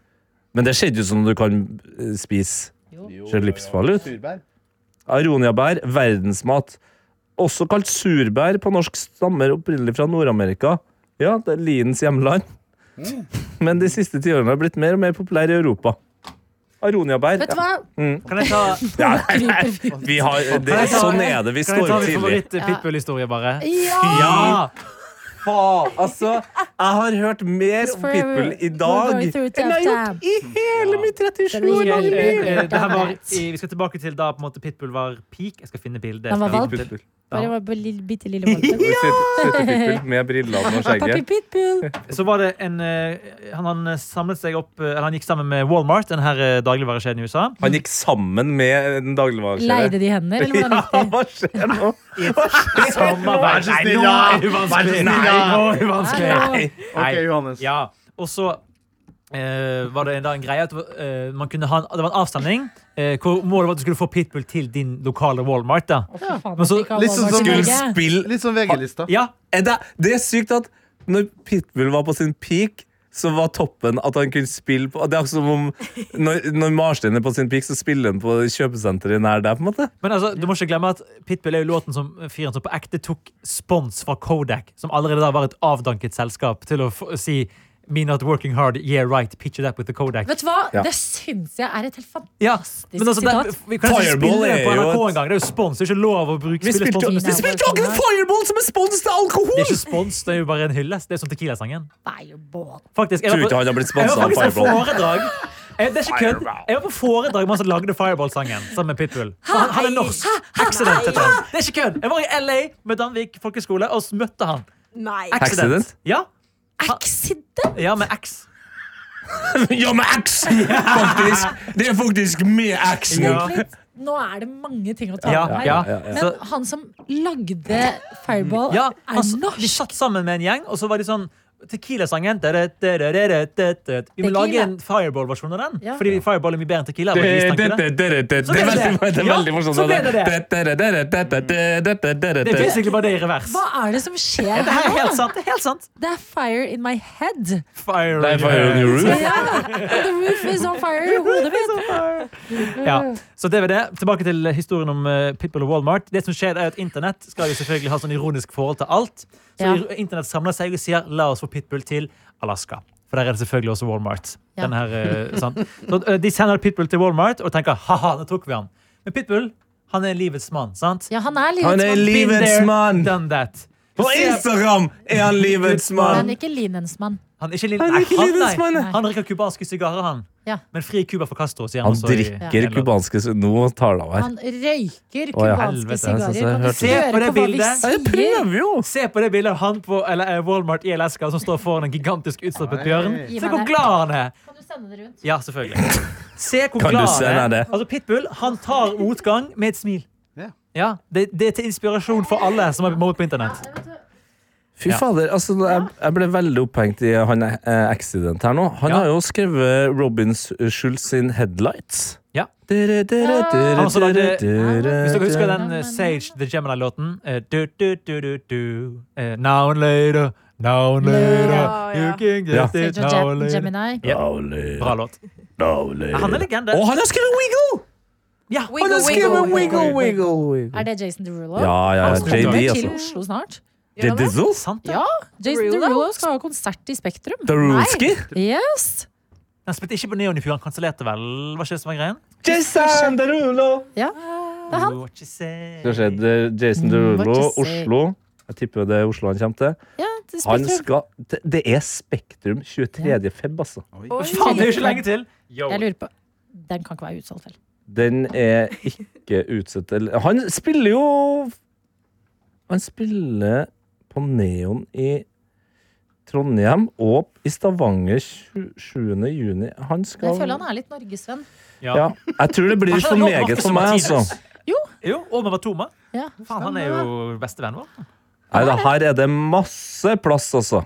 S3: Men det ser ikke ut som du kan eh, spise. Ser livsfarlig ut.
S6: Surbær.
S3: Aroniabær, verdensmat. Også kalt surbær på norsk stammer opprinnelig fra Nord-Amerika. Ja, det er Liens hjemland. Mm. Men de siste tiårene har blitt mer og mer populær i Europa. Aroniabær.
S2: Vet du hva?
S4: Kan jeg ta,
S3: Ja, nei, nei, vi har, det,
S4: Kan jeg ta-
S3: sånn er det. Vi
S4: kan jeg
S3: står
S4: ta
S3: opp
S4: min
S3: tidlig.
S4: favoritt-pitbull-historie, bare?
S2: Ja!
S4: Ja!
S3: faen! Altså, jeg har hørt mer om Pitbull i dag
S2: We're going through
S3: enn jeg har
S2: tough
S3: gjort i hele mitt 37 år
S2: Det er
S4: Eh,
S2: mye
S3: lange liv!
S4: eh, det her var i, vi skal tilbake til da på en måte Pitbull var peak. Jeg skal finne bildet.
S2: Han var valp.
S3: Pitbull.
S2: Bare var på lille, bitte lille valpen.
S3: Sitter Pitbull med brillene og
S2: Papi
S3: skjegget.
S2: Pitbull.
S4: Så var det en eh, han, han samlet seg opp eh, Eller han gikk sammen med Walmart, den her eh, dagligvarekjeden i USA.
S3: Han gikk sammen med en dagligvarekjede.
S2: Leide de hender, eller hvordan gikk det?
S3: hva skjer nå? Hva skjer nå?
S4: Samarbeid Nei, nå er det vanskelig! Nei, nå er det vanskelig!
S2: Hallo.
S3: Nei.
S6: Ok, Johannes.
S4: Ja, og så eh, var det da en greie at eh, man kunne ha en, det var en avstemning eh, hvor målet var at du skulle få Pitbull til din lokale Walmart. da.
S2: Å, fy faen,
S4: Men
S2: at
S4: så-
S2: vi ikke har
S6: litt sånn
S2: Walmart i
S6: som-
S2: Norge.
S6: Skulle
S3: Spill
S6: Litt sånn VG-lista.
S4: Ja,
S3: Er Eh, det, det er sykt at når Pitbull var på sin peak, så var toppen at han kunne spille på Det er akkurat som om når, når Marstein er på sin peak, så spiller han på kjøpesenteret nær deg, på en måte.
S4: Men altså, du må ikke glemme at Pitbull er jo låten som fyren som på ekte tok spons fra Kodak, som allerede da var et avdanket selskap, til å få- si Me not working hard, yeah right, picture that with the Kodak.
S2: Vet du hva?
S3: Ja.
S2: Det syns jeg er et helt fantastisk
S4: Ja, men altså,
S2: sitat.
S4: det, vi kan ikke
S3: Fireball
S4: spille det på
S3: er jo
S4: NRK
S3: et-
S4: engang. Det er jo spons, det er ikke lov å bruke
S3: Vi
S4: spille
S3: spilte,
S4: spons.
S3: vi spilte akkurat Fireball som en spons til
S4: Det er
S3: alkohol!
S4: ikke spons, det er jo bare en hyllest. Det er som Tequila-sangen.
S2: Nei, jo, båt.
S4: Faktisk, jeg
S3: Tror
S4: var
S3: ikke
S4: på,
S3: han har blitt
S4: jeg
S3: sponsa
S4: var
S3: av
S4: faktisk på
S3: Fireball.
S4: foredrag. Jeg, det er ikke kødd. Jeg var på foredrag med han som lagde Fireball-sangen sammen med Pitbull. Så han, han er norsk. Accident heter han. Det er ikke kødd. Jeg var i LA med Danvik folkeskole og så møtte han.
S5: Nei.
S3: Accident?
S4: Ja,
S2: Accident?
S4: ja med X.
S3: Ja, med X! Faktisk. Det er faktisk med X.
S4: Ja.
S2: Nå er det mange ting å ta
S4: Ja,
S2: opp her.
S4: ja.
S2: Men
S4: Så,
S2: han som lagde Fireball,
S4: ja
S2: er
S4: han, de
S2: norsk.
S4: satt sammen med en gjeng, og så var de sånn Tequila-sangen da-da, da-da, da-da, da-da. Vi må
S2: Tequila.
S4: lage en Fireball-versjon av den.
S2: Ja.
S4: Fordi Fireball er mye bedre enn Tequila. var
S3: Det
S4: det
S3: er
S4: de tenkte det.
S3: veldig- det er
S4: Ja,
S3: veldig morsomt.
S4: så ble det Det er
S3: det.
S4: basically bare det i revers.
S2: Hva er det som skjer
S4: Det her
S2: her?
S4: er helt sant. Det er helt sant.
S2: Det er fire in my head.
S4: Fire
S3: Det er Fire on your roof.
S2: Ja, the roof is on fire i hodet mitt. Mm.
S4: Ja, så det var det. Tilbake til historien om eh, Pitbull og Walmart. Det som skjer er at Internett skal jo selvfølgelig ha sånn ironisk forhold til alt. Så
S2: Ja.
S4: ir- Internett samler seg og sier la oss få Pitbull til Alaska. For der er det selvfølgelig også Walmart.
S2: Ja.
S4: Den her, eh, sånn. Så eh, De sender Pitbull til Walmart og tenker ha-ha, nå tok vi han. Men Pitbull han er livets mann. sant?
S2: Ja, han er litt
S3: Han er
S2: sånn-
S3: li- Livets
S4: Been there,
S3: mann.
S4: Done that.
S3: På Instagram er han livets
S2: Men
S3: mann!
S2: ikke linensmann.
S4: Han er ikke, li-
S3: er
S4: Nei,
S3: ikke
S4: han,
S3: livets mann,
S4: nei.
S2: nei.
S4: han drikker cubanske sigarer, han.
S2: Ja.
S4: Men fri Cuba for Castro, sier han,
S3: Han
S4: også i-
S3: drikker
S4: Ja.
S3: kubanske s- Nå tar det av her.
S2: Han røyker
S3: Å, ja.
S2: cubanske
S4: Helvete,
S3: jeg synes
S2: sigarer.
S3: jeg
S2: Kan
S3: hørte
S2: du
S4: det. Se
S2: ikke
S4: på det
S2: høre på hva
S4: bildet.
S2: vi
S3: Jeg
S2: sier?
S3: prøver jo!
S4: Se på det bildet av han på eller, eh, Walmart i Alaska som står foran en gigantisk utstoppet bjørn.
S2: Gi
S4: Se
S2: meg
S4: hvor
S2: det.
S4: glad han er!
S2: Kan du sende det rundt?
S4: Ja, selvfølgelig. Se hvor
S3: Kan du
S4: glad
S3: se
S4: han
S3: det?
S4: er. Altså, Pitbull han tar motgang med et smil.
S6: Ja.
S4: Ja, det, det er til inspirasjon for alle som er mobbet på internett.
S3: Fy
S4: Ja.
S3: fader, altså jeg, jeg ble veldig opphengt i han eh, accident her nå. Han
S4: Ja.
S3: har jo skrevet Robin Schulz sin 'Headlights'.
S4: Ja.
S3: Dere, dere, dere,
S4: Han som lagde-
S3: dere, dere,
S4: Hvis dere husker
S3: dere.
S4: den eh, Sage the Gemini-låten eh, du, du, du, du, du. Eh, Now and later, now and later
S5: Ja, ja.
S4: You can
S3: Ja.
S4: get it
S2: Sage
S4: now
S2: og Gem-
S4: and later.
S2: Gemini.
S4: Ja.
S3: Dårlig,
S4: Bra låt.
S3: dårlig.
S4: Han er legende.
S3: Og han har skrevet 'Wiggle'!
S4: Ja,
S5: Wiggle,
S3: Han har skrevet
S5: wiggle,
S3: Wiggle, wiggle,
S2: Er
S3: wiggle.
S2: det Jason Derulo?
S3: Ja, ja,
S4: Han
S3: ja,
S4: som
S3: JD,
S4: kommer
S2: Til
S3: altså.
S2: Oslo snart.
S3: The Dizzles?
S4: sant det.
S2: Ja, Jason
S5: Derulo?
S2: Derulo skal ha konsert i Spektrum.
S3: Darulski?
S2: Yes!
S4: Han spilte ikke på Neon i fjor, han kansellerte vel? Var ikke det som var greien?
S3: Jason Derulo!
S2: Ja. Det er han.
S4: What you say.
S3: Skal se, det- Jason
S2: Mm,
S3: Derulo,
S2: what you say.
S3: Oslo. Jeg tipper det er Oslo han kommer til.
S2: Ja, til
S3: Han
S2: Spektrum.
S3: skal, det, det er Spektrum 23. feb, altså.
S4: Faen, det er jo ikke lenge til!
S2: Jeg lurer på Den kan ikke være utsolgt heller.
S3: Den er ikke utsatt til Han spiller jo Han spiller på Neon i Trondheim og i Stavanger 7. juni. Han
S2: Men
S3: skal
S2: jeg føler han er litt norgesvenn.
S3: ja. Jeg tror det blir for meget for meg, altså.
S4: Jo, og med Matoma.
S2: Ja.
S4: Faen, han er jo bestevennen vår.
S3: Nei, da, her er det masse plass, altså.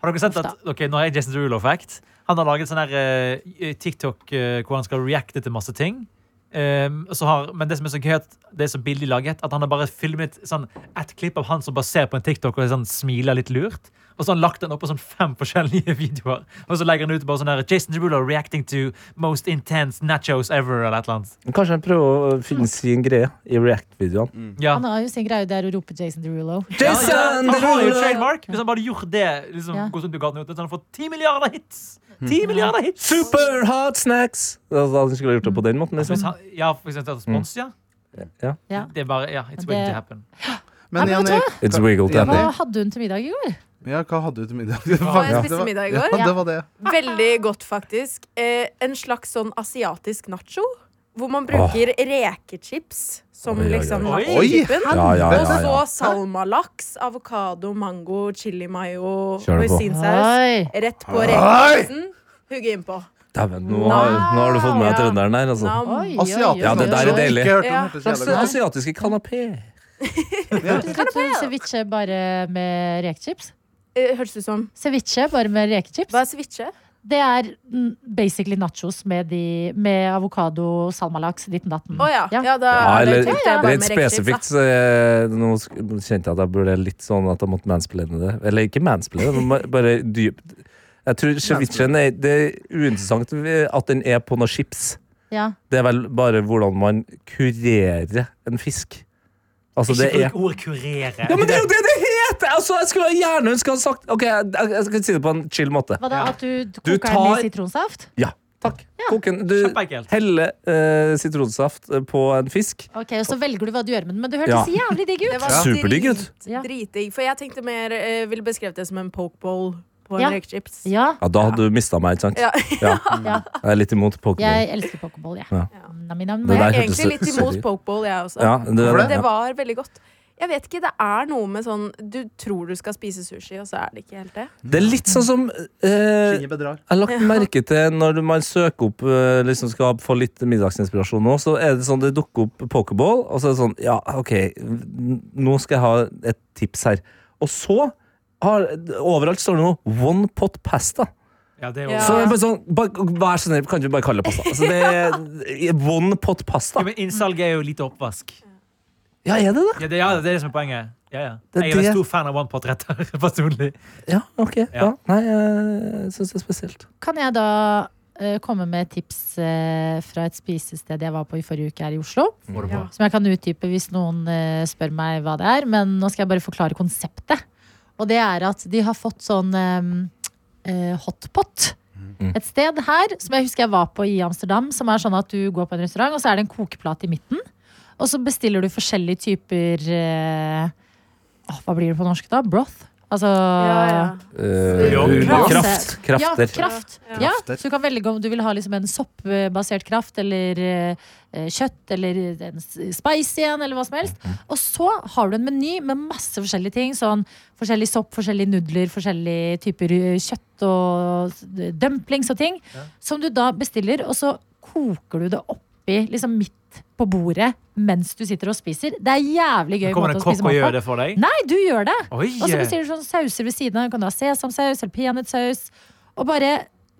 S4: Har dere sett at Ok, nå er jeg Jason Derulo-fact. Han har laget sånn her eh, TikTok eh, hvor han skal reacte til masse ting. Um, og så har, men det som er så gøy at Det er så billig laget At han har bare filmet sånn, et klipp av han som bare ser på en TikTok og sånn, smiler litt lurt. Og så har han lagt den opp på sånn fem forskjellige videoer. Og så legger han ut bare sånn her Jason Derulo reacting to most intense nachos ever. Eller et eller annet.
S3: Men Kanskje han prøver å finne sin greie i React-videoene.
S4: Ja.
S2: Han har jo sin greie der å rope Jason Derulo.
S4: Ja, ja,
S3: Jason
S4: Han har jo
S3: Derulo!
S4: trademark. Hvis han bare hadde gjort det, liksom,
S2: Ja.
S4: gått rundt i gaten uten, så hadde han fått 10 milliarder hits!
S3: Mm.
S4: 10 milliarder hits!
S3: Super hot snacks! Altså, han skulle ha gjort det på den måten.
S4: Hvis
S3: Liksom.
S4: han, ja, for eksempel at spons, ja.
S2: Ja.
S4: Det er bare, ja, it's
S2: Men
S4: waiting
S2: det-
S4: to happen.
S6: Men
S2: Ja, men
S6: igjen,
S2: vet
S6: jeg,
S3: It's wiggle tap.
S2: Hva hadde hun til middag i går?
S6: ja, hva hadde du til middag? Det
S5: Hva jeg
S6: faktisk-
S5: spiste
S6: det var-
S5: middag i
S6: Ja,
S5: går?
S2: Ja.
S6: det var det.
S5: Veldig godt, faktisk. Eh, en slags sånn asiatisk nacho. Hvor man bruker rekechips som
S3: Oi, oi, oi.
S5: liksom
S4: Oi!
S5: nachochipen.
S3: Ja, ja,
S5: Og
S3: ja,
S5: så
S3: ja.
S5: salmalaks, avokado, mango, chili mayo,
S3: Kjør det på.
S5: hoisinsaus. Rett på rekechipsen. Hugge innpå.
S3: Dæven, nå, har- nå har du fått med deg trønderen her, altså.
S5: Nam.
S2: Oi, oi,
S6: Asiatisk
S3: Ja, det der er
S6: nacho.
S3: deilig.
S6: Ikke hørt om
S5: Ja.
S6: det på
S3: Slags
S6: så jævla lenge.
S3: asiatiske kanapé.
S2: Hørtes ut som ceviche bare med rekechips.
S5: Eh, Hørtes ut som
S2: Ceviche bare med rekechips.
S5: Hva er ceviche?
S2: Det er mm, basically nachos med, de, med avokado, salmalaks, ditten datten.
S5: Å ja.
S2: Ja.
S5: ja, da
S3: Ja,
S5: er det
S3: eller
S5: tenkte jeg bare
S3: Rent
S5: med rett
S3: spesifikt så eh, Nå sk- kjente jeg at jeg burde litt sånn at jeg måtte mansplaine det. Eller ikke mansplaine, men ma- bare dypt. Jeg tror cevichen er Det er uinteressant at den er på noe chips.
S2: Ja.
S3: Det er vel bare hvordan man kurerer en fisk. Altså, det er
S4: Ikke bruk ordet kurere.
S3: Ja, men det er jo det det heter! Altså, jeg skulle gjerne ønske jeg hadde sagt Ok, jeg, jeg, jeg skal si det på en chill måte.
S2: Hva da, at du
S3: Du
S2: koker den
S3: tar-
S2: i sitronsaft?
S3: Ja. Takk. Koken, du
S4: Kjempeekkelt.
S3: heller eh, sitronsaft på en fisk.
S2: Ok, og Så velger du hva du gjør med den, men det
S3: Ja.
S2: hørtes jævlig digg
S5: Det
S2: ut.
S5: var
S3: Ja. Superdigg,
S5: drit-
S3: gutt.
S2: Ja.
S5: Dritdigg. For jeg tenkte mer eh, Ville beskrevet det som en pokeball på en
S2: Ja.
S5: rekechips.
S2: Ja,
S3: Ja, da hadde du mista meg, ikke sant?
S5: Ja.
S2: Ja.
S3: Jeg er litt imot Pokémon.
S2: jeg elsker pokeball, jeg.
S3: Ja.
S2: Nam, nam,
S3: Det
S2: nam.
S3: der-
S5: Jeg er
S3: hørtes
S5: egentlig litt
S3: så-
S5: imot
S3: sorry.
S5: pokeball, jeg også.
S3: Ja, det,
S6: Hvorfor det?
S5: Det var veldig godt. Jeg vet ikke, Det er noe med sånn Du tror du skal spise sushi, og så er det ikke helt det.
S3: det er litt sånn som eh,
S6: Kinnet bedrar.
S3: Jeg har lagt merke til når man søker opp eh, liksom skal få litt middagsinspirasjon nå, så er det sånn det dukker opp pokerball, og så er det sånn Ja, OK, n- nå skal jeg ha et tips her. Og så har, Overalt står det noe one pot pasta.
S4: Ja, det er
S5: Ja.
S4: jo
S3: Så det er bare sånn, bare, Vær så snill, kan du bare kalle det pasta? Altså, det er One pot pasta.
S4: Ja, men Innsalg er jo lite oppvask.
S3: Ja, er det det?
S4: Ja, det, ja, det er det som er poenget. Ja, ja.
S3: Det er
S4: Jeg er en
S3: det.
S4: stor fan av one pot-retter personlig.
S3: Ja, OK. Ja. Nei, jeg syns det er spesielt.
S2: Kan jeg da eh, komme med tips eh, fra et spisested jeg var på i forrige uke her i Oslo?
S4: Ja.
S2: Som jeg kan utdype hvis noen eh, spør meg hva det er. Men nå skal jeg bare forklare konseptet. Og det er at de har fått sånn eh, eh, hotpot. Et sted her som jeg husker jeg var på i Amsterdam, som er sånn at du går på en restaurant, og så er det en kokeplate i midten. Og så bestiller du forskjellige typer eh, åh, Hva blir det på norsk, da? Broth? Altså
S5: Ja, ja.
S2: Kraft.
S3: Eh, kraft. Krafter.
S2: Ja, kraft.
S5: Ja.
S2: Ja. så du kan velge om du vil ha liksom en soppbasert kraft eller eh, kjøtt eller en s- spicy en, eller hva som helst.
S4: Mhm.
S2: Og så har du en meny med masse forskjellige ting. Sånn forskjellig sopp, forskjellige nudler, forskjellige typer eh, kjøtt og s- dumplings og ting. Som du da bestiller, og så koker du det oppi liksom midt på bordet mens du sitter og spiser. Det er jævlig gøy
S4: Kommer
S2: måte
S4: det en
S2: å spise
S4: kokk og gjør
S2: mat på.
S4: det for deg?
S2: Nei, du gjør det!
S4: Oi! eh.
S2: Og så bestiller du sånn sauser ved siden av. Du kan ha sesamsaus eller peanøttsaus. Og bare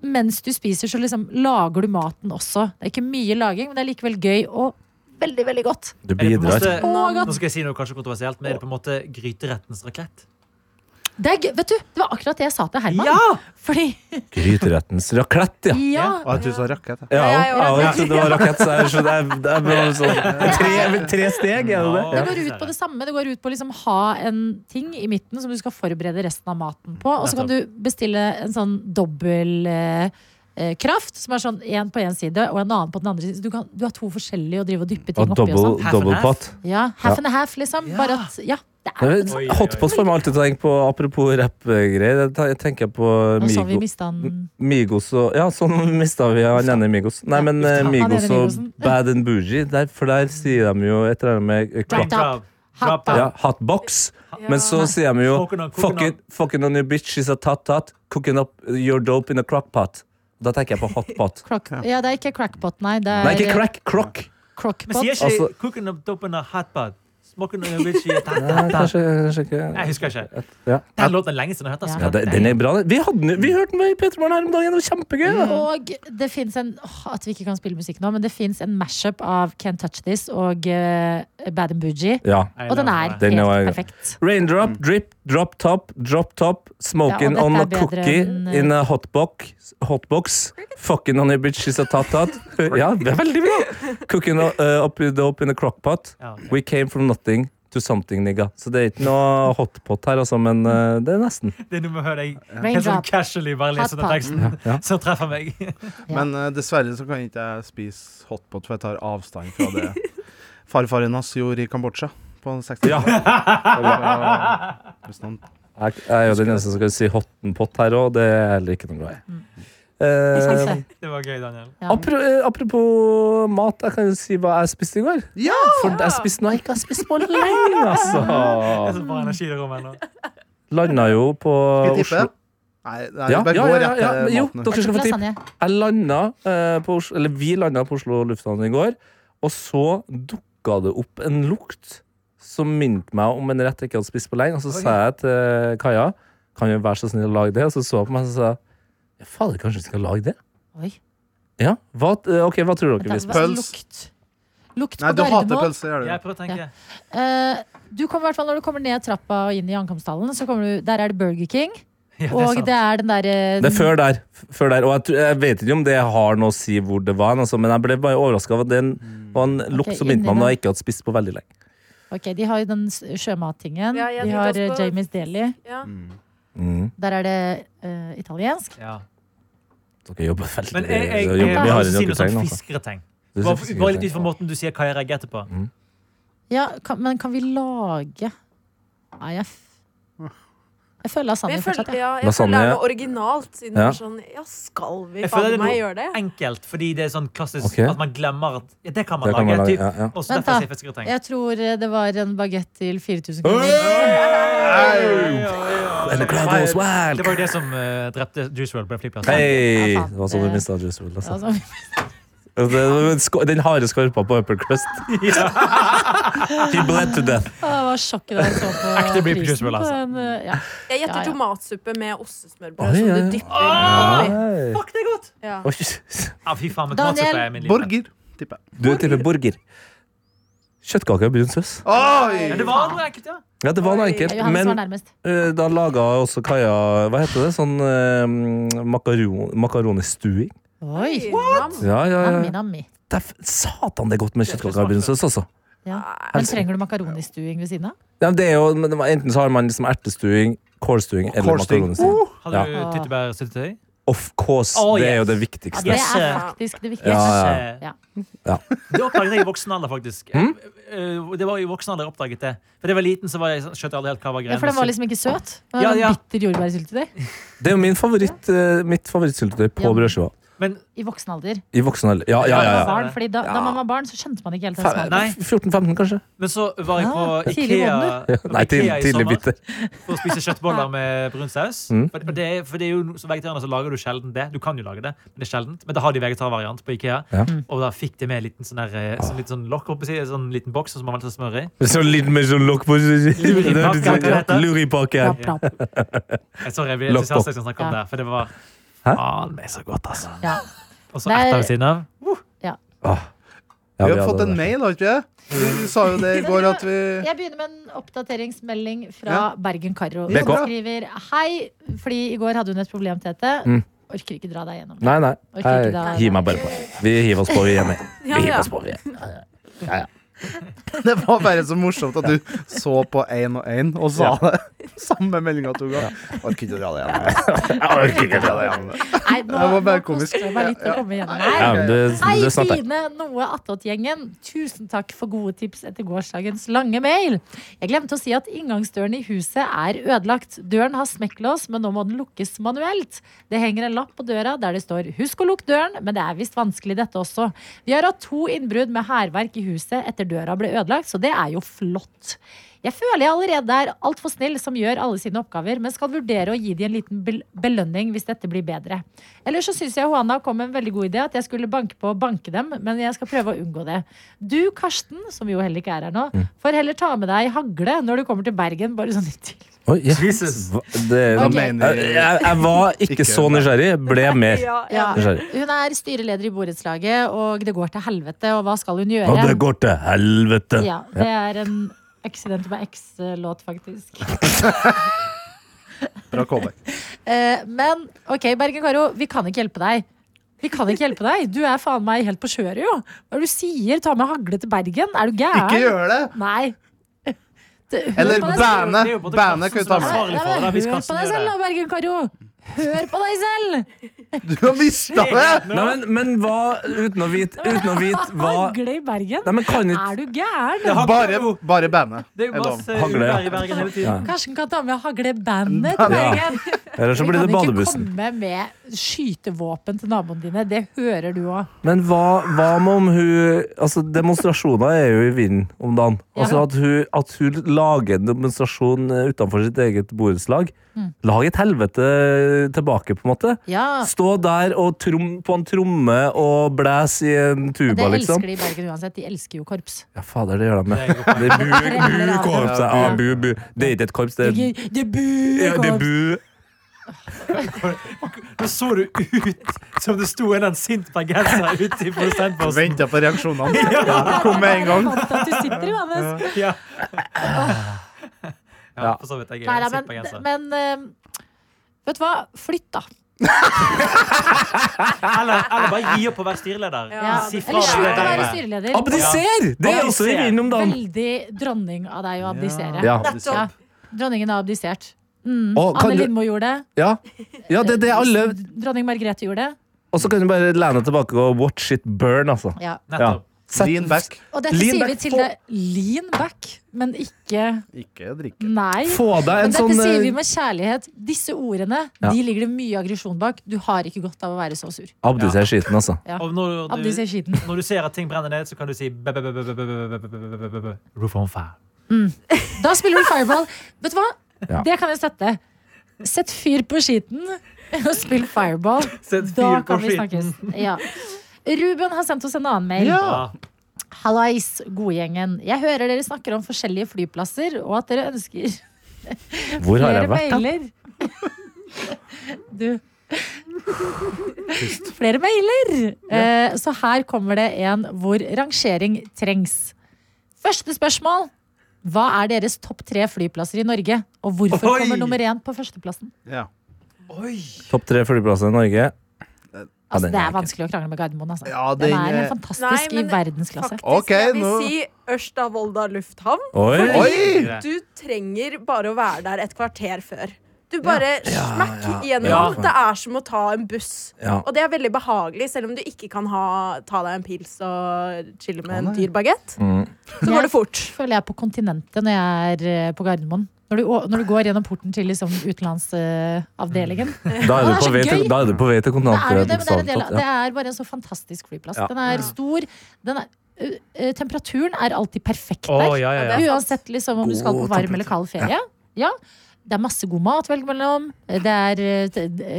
S2: mens du spiser, så liksom lager du maten også. Det er ikke mye laging, men det er likevel gøy og veldig, veldig godt.
S3: Du
S4: Er det på en
S3: bidrar.
S4: måte-
S2: Å, godt.
S4: Nå skal jeg si noe kanskje kontroversielt, men er det på en måte gryterettens rakett?
S3: altså-
S2: Det er gøy. Vet du, det var akkurat det jeg sa til Herman. Fordi
S3: Gryterettens raclette, ja.
S2: Ja!
S6: Og jeg tror du sa rakett. jeg.
S3: Ja,
S5: Ja,
S3: jeg
S5: jeg
S3: ja,
S5: gjorde
S3: jeg trodde det var rakett, så jeg skjønner jeg- det er bare sånn tre, tre steg, er
S2: Det
S3: det det? Ja.
S2: går ut på det samme. Det går ut på å liksom ha en ting i midten som du skal forberede resten av maten på. Og så kan du bestille en sånn dobbel eh, eh, kraft, som er sånn én på én side og en annen på den andre. siden. Så Du, kan, du har to forskjellige å drive og dyppe ting
S3: Og
S2: oppi. og sånn.
S3: double,
S4: half and
S3: double
S4: half.
S3: pot.
S2: Ja, half and a half, liksom. Bare at, ja, det er
S3: Det er- Hotpot får meg alltid til å tenke på, apropos rappgreier, da tenker jeg på
S2: Og så vi
S3: Migo,
S2: mista han
S3: Migos og Ja, sånn mista vi han ene Migos. Nei, men eh,
S2: Han ene
S3: Migos
S2: Migosen.
S3: og Bad and Bougie, der, for der sier de jo et eller annet med eh,
S4: Drop
S3: crop-
S4: top.
S2: Drop
S4: Drop
S2: top.
S4: top.
S3: ja, hotbox,
S5: Ja.
S3: men så sier de jo
S4: Coconut, coconut.
S3: fucking, fucking on your bitch is a tot-tot, cooking up your dope in a crockpot. Da tenker jeg på hotpot.
S2: crock... Ja, det er ikke crackpot, nei. Det er
S3: Nei, ikke crack, crock.
S4: Men
S2: crockpot.
S4: sier ikke
S3: Altså-
S4: cooking up dopen a hot pot? Smoking on a bitch i a ta, ta,
S3: Nei,
S4: ta.
S3: kanskje, kanskje ikke.
S4: Jeg husker ikke.
S3: Ja.
S4: Den låten er lenge siden jeg har hørt.
S2: Ja.
S4: Altså.
S3: Ja, det, den er bra. den. Vi, hadde, den- vi hørte den i Peter Morgen her om dagen. Det var kjempegøy. Da.
S2: Og det fins en åh, At vi ikke kan spille musikk nå, men det fins en mashup av Can't Touch This og eh, Bad and Bougie.
S3: Ja.
S4: Jeg
S2: Og den
S4: lover
S2: er
S4: det.
S3: Den er
S2: helt
S3: jo-
S2: perfekt.
S3: Raindrop, drip, drop top, drop top, smoking
S2: Ja, og dette
S3: on
S2: er
S3: a
S2: bedre
S3: cookie
S2: enn, eh,
S3: in a hotbox, hotbox fucking on your bitch is a tot-tot. Ja, det er veldig bra! Cooking uh, up the dope in a crockpot.
S4: Ja.
S3: We came from nothing to something, nigga. Så det er ikke noe hotpot her, altså, men eh, det er nesten.
S4: Det er noe med å høre deg helt sånn
S2: Raindrop.
S4: casually bare lese
S2: Hot
S4: den
S2: pot.
S4: teksten,
S3: Ja.
S4: som treffer meg.
S2: Ja.
S6: Men eh, dessverre så kan ikke jeg spise hotpot, for jeg tar avstand fra det farfaren hans gjorde i Kambodsja på 60
S3: Ja.
S6: Hvis noen
S3: Jeg, jeg er jo den eneste som kan si hottenpott her òg. Det er jeg heller ikke noe glad
S2: Mm.
S3: i. Eh,
S2: Kanskje.
S4: Det var gøy, Daniel.
S2: Ja.
S3: Apro- eh, Apropos mat, jeg kan jo si hva jeg spiste i går.
S6: Ja!
S3: For jeg spiste noe jeg ikke har spist på lenge,
S4: Det er
S3: altså.
S4: så bra energi i det rommet nå.
S3: Landa jo på
S6: Skal vi tippe?
S3: Oslo
S6: Nei, nei
S3: Ja,
S6: vi bare
S3: ja,
S6: går
S3: ja,
S6: rett
S3: ja,
S6: til
S3: men jo,
S6: maten.
S3: dere skal få tipp.
S2: Lasagne.
S3: Jeg landa eh, på Oslo Eller vi landa på Oslo lufthavn i går, og så dukka det opp en lukt som minte meg om en rett jeg ikke hadde spist på lenge. Og så sa jeg til Kaja Kan du være så snill å lage det? Og så så hun på meg og sa Ja, Fader, kanskje vi skal lage det?
S2: Oi.
S3: Ja, hva, eh, ok, hva tror dere vi
S2: Vent, hva-
S3: spiser?
S6: Pøls.
S2: Lukt. Lukt
S6: Nei,
S2: på
S6: du hater
S2: Gardermoen.
S6: pølse, gjør du?
S4: Jeg prøver å tenke.
S2: Eh, du kommer i hvert fall Når du kommer ned trappa og inn i Ankomsthallen, så kommer du, der er det Burger King.
S4: Ja, det er
S2: Og
S4: sant.
S2: det er den eh, derre
S3: Det er før der. f- Før der. Og jeg, tror- jeg vet ikke om det har noe å si hvor det var, altså, men jeg ble bare overraska av at det
S4: Mm.
S3: var en lukt som minte meg om
S2: inni
S3: noe jeg ikke hadde spist på veldig lenge.
S2: Ok, De har jo den s- sjømattingen.
S5: Ja, jeg
S2: de
S5: tenkte
S2: har
S5: også
S2: eh,
S5: på-
S2: Jamies Deli.
S5: Ja.
S3: Mm.
S2: Der er det eh, italiensk.
S4: Ja.
S3: Dere jobber veldig
S4: Men jeg, jeg,
S3: jobber
S4: jeg,
S3: mye hardere enn
S4: si
S3: dere
S4: noe sånn
S3: trenger, altså.
S4: fiskereteng.
S3: Det
S4: Bare,
S3: synes jeg
S4: bare
S3: ikke.
S4: litt ut fra måten du sier hva jeg reagerte på.
S2: Ja, kan, Men kan vi lage Nei, jeg, f- jeg føler
S5: Men
S2: lasagne
S5: jeg føler,
S2: fortsatt. Jeg.
S5: ja, jeg føler det
S3: Lasagne.
S5: er noe originalt, siden det
S3: Ja.
S5: er sånn Ja, skal vi
S4: Jeg føler
S5: faen
S4: det er
S5: meg
S4: noe-
S5: gjøre det?
S4: Enkelt, fordi det er sånn klassisk
S3: Ok.
S4: at man glemmer at ja, det kan man
S3: Det kan
S4: lage.
S3: man lage,
S4: typ.
S3: ja, ja.
S4: Og så
S2: Vent
S4: derfor
S2: da.
S4: sier jeg fiskereteng.
S2: jeg tror eh, det var en bagett til 4000 kroner.
S3: And the crowd goes wild.
S4: Det var jo det som eh, drepte Juice WRLD på den flyplassen.
S3: Hei!
S2: Ja, faen.
S3: Det var sånn du mista Juice WRLD, altså.
S2: Altså,
S3: Altså, det var en sko- Den harde skorpa på upper crust. He bled to death.
S2: det var sjokket da jeg så på
S4: Ekte Britney
S2: prisen
S4: Spears,
S2: på
S4: altså.
S2: en, eh, ja.
S5: Jeg gjetter
S2: Ja, ja.
S5: tomatsuppe med ostesmørbrød
S3: Oi,
S5: som
S3: ja,
S5: du
S3: ja.
S5: dypper
S3: Ah!
S5: oppi.
S4: Fuck, det er godt!
S5: Ja.
S3: Oi.
S4: Ja, fy faen, men
S2: Daniel.
S4: tomatsuppe er min liv.
S6: Borger, tipper jeg.
S3: Du tipper borger. Kjøttkaker og brun saus.
S4: Ja,
S6: Oi!
S4: det var noe enkelt, ja.
S3: Ja, det var noe
S5: Oi.
S3: enkelt,
S2: Johannes
S3: men
S2: var nærmest.
S3: Eh, Da laga også Kaja Hva heter det? Sånn eh, makaron, makaronistuing.
S2: Oi!
S5: Nam.
S3: Ja, ja,
S2: Nammi,
S3: ja.
S2: nammi.
S3: Det er f- satan, det er godt med kjøttkakearbeidssaus, altså.
S2: Ja. Men trenger du makaronistuing ved siden av?
S3: Ja, men det er jo, men det var- enten så har man liksom ertestuing, kålstuing eller
S6: Kålstuing.
S3: makaronistuing.
S4: Hadde du
S2: Ja.
S4: tyttebærsyltetøy?
S3: Of course,
S4: Oh,
S3: det er jo
S4: yes.
S3: det
S2: Ja,
S3: viktigste.
S2: det
S4: Yes.
S2: er faktisk det viktigste.
S3: Ja, ja.
S2: Ja.
S4: Det oppdaget jeg i voksen alder, faktisk.
S3: Hmm?
S4: Eh, Det var i voksen alder jeg oppdaget det. For da jeg var liten, så var jeg, sånn- skjønte jeg aldri helt hva var greia.
S2: Ja, for den var liksom ikke søt. Den
S4: Ja,
S2: var
S4: ja.
S2: Bitter jordbærsyltetøy.
S3: Det er jo min favoritt, eh, mitt favorittsyltetøy på
S2: Ja.
S3: brødskiva.
S4: Men
S2: I voksen alder.
S3: I voksen alder. Ja, ja,
S2: Da man
S3: ja.
S2: var
S3: ja.
S2: Barn, fordi da, da man var barn, så skjønte man ikke helt den
S3: Fa-
S2: smaken.
S4: Nei.
S3: 14-15, kanskje?
S4: Men så var jeg på
S2: Ah, tidlig
S4: Ikea,
S2: våkner.
S4: på
S3: Nei, til,
S4: Ikea i
S3: tidlig
S4: sommer
S3: bitter.
S4: for å spise kjøttboller med brun saus.
S3: Mm.
S4: For, og det, er- for det er jo, som vegetarianer så lager du sjelden det. Du kan jo lage det, men det er sjeldent. Men da har de vegetarvariant på Ikea.
S3: Ja.
S4: Og da fikk de med en liten sånn, der, eh, sånn, litt sånn lokk oppi, si, en sånn liten boks som man har litt smør i.
S3: Så litt mer sånn lokk på
S4: Luripakke, kan det hete?
S3: Luripakke.
S2: Bra, bra.
S4: Jeg, sorry, jeg blir
S3: Lokk
S4: entusiastisk når jeg snakker om
S2: Ja.
S4: det, for det var
S3: Hæ?
S4: faen meg så godt, altså.
S2: Ja.
S4: Og så
S2: Det er-
S4: erter ved siden av.
S3: Ah. Ja,
S6: Vi har
S3: hadde
S6: fått en
S3: det.
S6: mail, har ikke vi? Vi vi sa jo det i går at vi
S2: Jeg begynner med en oppdateringsmelding fra
S6: Ja.
S2: Bergen Karro.
S3: BK.
S2: Hun skriver hei, fordi i går hadde hun et problem, Tete.
S3: Mm.
S2: Orker ikke dra deg gjennom. det.
S3: Nei, nei.
S2: Orker ikke
S3: Jeg
S2: da.
S3: hiver meg bare på. Vi hiver oss på, vi er enige. Vi
S5: Ja,
S3: hiver
S5: ja.
S3: oss på, vi er enige.
S6: Det var bare så morsomt at du så på én og én og sa det. Samme meldinga to ganger. Orker ikke å dra det igjen. Jeg orker ikke å dra det igjen.
S2: Nei, nå,
S6: Det var bare
S2: nå
S6: komisk.
S2: koster det meg litt å komme gjennom
S3: Ja,
S2: her.
S3: men det,
S2: Hei,
S3: det snakker jeg.
S2: Fine Noe Attåt-gjengen. Tusen takk for gode tips etter gårsdagens lange mail. Jeg glemte å si at inngangsdøren i huset er ødelagt. Døren har smekklås, men nå må den lukkes manuelt. Det henger en lapp på døra der det står 'Husk å lukke døren', men det er visst vanskelig dette også. Vi har hatt to innbrudd med hærverk i huset etter døra ble ødelagt, så det er jo flott. Jeg føler jeg allerede er altfor snill som gjør alle sine oppgaver, men skal vurdere å gi de en liten bel- belønning hvis dette blir bedre. Eller så syns jeg Johanna kom med en veldig god idé, at jeg skulle banke på og banke dem, men jeg skal prøve å unngå det. Du, Karsten, som jo heller ikke er her nå,
S3: Mm.
S2: får heller ta med deg hagle når du kommer til Bergen, bare sånn i til.
S3: Oi, ja.
S4: Jesus.
S3: Hva- Det,
S2: Ok.
S3: jeg, jeg, jeg var ikke
S6: Ikke
S3: så nysgjerrig, ble mer.
S5: Ja,
S2: Ja.
S5: ja.
S3: Nysgjerrig.
S2: Hun er styreleder i borettslaget, og det går til helvete, og hva skal hun gjøre?
S3: Og det går til helvete!
S2: Ja, det er en Accident by X-låt, faktisk.
S6: Bra cover.
S2: Eh, men OK, Bergen Karo, vi kan ikke hjelpe deg. Vi kan ikke hjelpe deg. Du er faen meg helt på kjøret, jo. Hva er det du sier? Ta med hagle til Bergen? Er du gæren?
S6: Ikke gjør det!
S2: Nei. Det, hør
S6: Eller
S2: på deg selv.
S6: bandet.
S4: Det er jo både
S6: Bandet
S4: Karsten
S6: kan vi ta
S4: som er
S6: med.
S2: Nei,
S4: ansvarlig for
S2: men
S4: det,
S2: Hør
S4: hvis
S2: på
S4: Karsten
S2: deg
S4: gjør
S2: selv, da,
S4: det.
S2: Bergen Karo! Hør på deg selv!
S6: Du har mista det!
S3: Nei, men, men hva Uten å vite, uten å vite hva
S2: Hagle i Bergen?
S3: Nei, men kan ikke
S2: Er du gæren?
S4: Det har-
S6: Bare, bare bandet.
S4: Det er jo
S6: Jeg
S4: masse
S3: lover. Hagle, ja.
S4: uvær i Bergen hele tiden.
S3: Ja.
S2: Karsten kan ta med haglebandet til Bergen.
S3: Eller så
S2: Vi
S3: blir
S2: kan
S3: det
S2: ikke
S3: badebussen.
S2: komme med skytevåpen til naboene dine. Det hører du òg.
S3: Men hva, hva med om hun Altså, demonstrasjoner er jo i vinden om dagen.
S2: Ja.
S3: Altså at hun, at hun lager en demonstrasjon eh, utenfor sitt eget borettslag. Lag et helvete tilbake, på en måte.
S2: Ja,
S3: Stå der og trom, på en tromme og blæs i en
S2: og
S3: tuba,
S2: det
S3: liksom.
S2: elsker de i Bergen uansett. De elsker jo korps.
S3: Ja, fader, det gjør de.
S4: Det
S3: med.
S4: er et godt
S3: Det er bu,
S4: poeng.
S3: bu, korps. Ja, bu, bu. Det er ikke et korps, det er
S2: Det buer
S3: Eh, ja, det er
S2: korps.
S3: bu.
S4: Nå så du ut som det sto en eller annen sint bergenser ute i prosentposten.
S6: Venta på reaksjonene. Kom med en gang.
S2: Fant at du sitter, Johannes.
S4: Ja.
S3: Ja.
S4: ja, for så vidt. Jeg
S2: Nei,
S4: er
S2: nei,
S4: en sint
S2: men,
S4: bergenser.
S2: men eh, vet du hva? Flytt, da.
S4: Eller, eller bare gi opp på å være styreleder.
S5: Ja.
S4: Si fra
S2: Eller
S4: deg
S2: slutt å
S4: der
S2: være
S4: inne.
S3: Ah,
S2: styreleder.
S3: Abdiser! Det er også
S4: Abdiser.
S3: innom dagen.
S2: Veldig dronning av deg å abdisere.
S3: Ja.
S2: Ja. Dronningen har abdisert.
S3: Å, kan
S2: Anne
S3: du-
S2: Lindmo gjorde det.
S3: Ja, ja det er det alle
S2: Dronning Margrethe gjorde det.
S3: Og så kan du bare lene tilbake og watch it burn, altså.
S2: Ja.
S3: Ja.
S4: Nettopp.
S3: Sett-
S6: Lean back.
S2: Og dette
S3: Lean
S2: sier vi
S3: back,
S2: til
S3: få-
S2: deg lean back, men ikke
S6: Ikke drikke.
S2: nei.
S3: Få deg
S2: Men
S3: en
S2: dette
S3: sånn
S2: sier vi
S3: eh,
S2: med kjærlighet. Disse ordene
S3: Ja.
S2: de ligger det mye aggresjon bak. Du har ikke godt av å være så sur.
S3: Abdiser skiten, altså.
S2: Ja.
S4: Og når
S2: Abdiser
S4: du,
S2: skiten.
S4: når du ser at ting brenner ned, så kan du si bæ, bæ, bæ, bæ, bæ, bæ, bæ, bæ, bæ, bæ, bæ, bæ. Roof on fire.
S2: Da spiller du fireball. Vet du hva?
S3: Ja.
S2: Det kan jeg sette. Sett fyr på skiten og spill fireball.
S4: Sett
S2: Da
S4: fyr på
S2: kan vi snakkes.
S4: skiten.
S2: Ja. Ruben har sendt oss en annen mail.
S4: Ja.
S2: Hallais, godgjengen. Jeg hører dere snakker om forskjellige flyplasser, og at dere ønsker
S3: Hvor har jeg
S2: Flere
S3: vært? da?
S2: mailer. Du. Flere mailer! Eh, så her kommer det en hvor rangering trengs. Første spørsmål. Hva er deres topp tre flyplasser i Norge? Og hvorfor
S4: Oi!
S2: kommer nummer én på førsteplassen?
S6: Ja.
S4: Oi!
S3: Topp tre flyplasser i Norge. Ja,
S2: Altså,
S3: den
S2: det
S3: er
S2: er
S3: ikke-
S2: vanskelig å krangle med Gardermoen. Altså.
S6: Ja,
S2: Den
S6: den,
S2: er
S6: eh,
S2: helt fantastisk
S5: Nei,
S2: i
S5: men-
S2: verdensklasse.
S5: Faktisk,
S6: Ok,
S5: jeg vil
S6: nå-
S5: si Ørsta-Volda lufthavn.
S3: Oi!
S6: Oi!
S5: Du trenger bare å være der et kvarter før. Du bare smakk
S3: ja,
S5: gjennom.
S3: ja.
S5: Det er som å ta en buss.
S3: Ja.
S5: Og det er veldig behagelig, selv om du ikke kan ha, ta deg en pils og chille med en
S6: nei.
S5: dyr bagett.
S3: Mm.
S5: Så går det fort.
S2: føler jeg er på kontinentet når jeg er eh, på Gardermoen. Når du, å- når du går gjennom porten til liksom, utenlandsavdelingen.
S3: Da er
S2: Å, det
S3: du
S2: er
S3: på
S2: så
S3: vei til,
S2: gøy!
S3: da er du på vei til altså.
S2: Det er jo det, men det er, en del, av-
S3: kontantkjøp.
S2: det er bare en så fantastisk flyplass.
S3: Ja.
S2: Den er stor. Den er, ø, ø, temperaturen er alltid perfekt
S4: Å,
S2: der.
S4: ja, ja, ja.
S2: Uansett liksom, om du skal på
S3: God
S2: varm eller kald ferie. Ja. Det er masse god mat å velge mellom. Det er ø, d- d-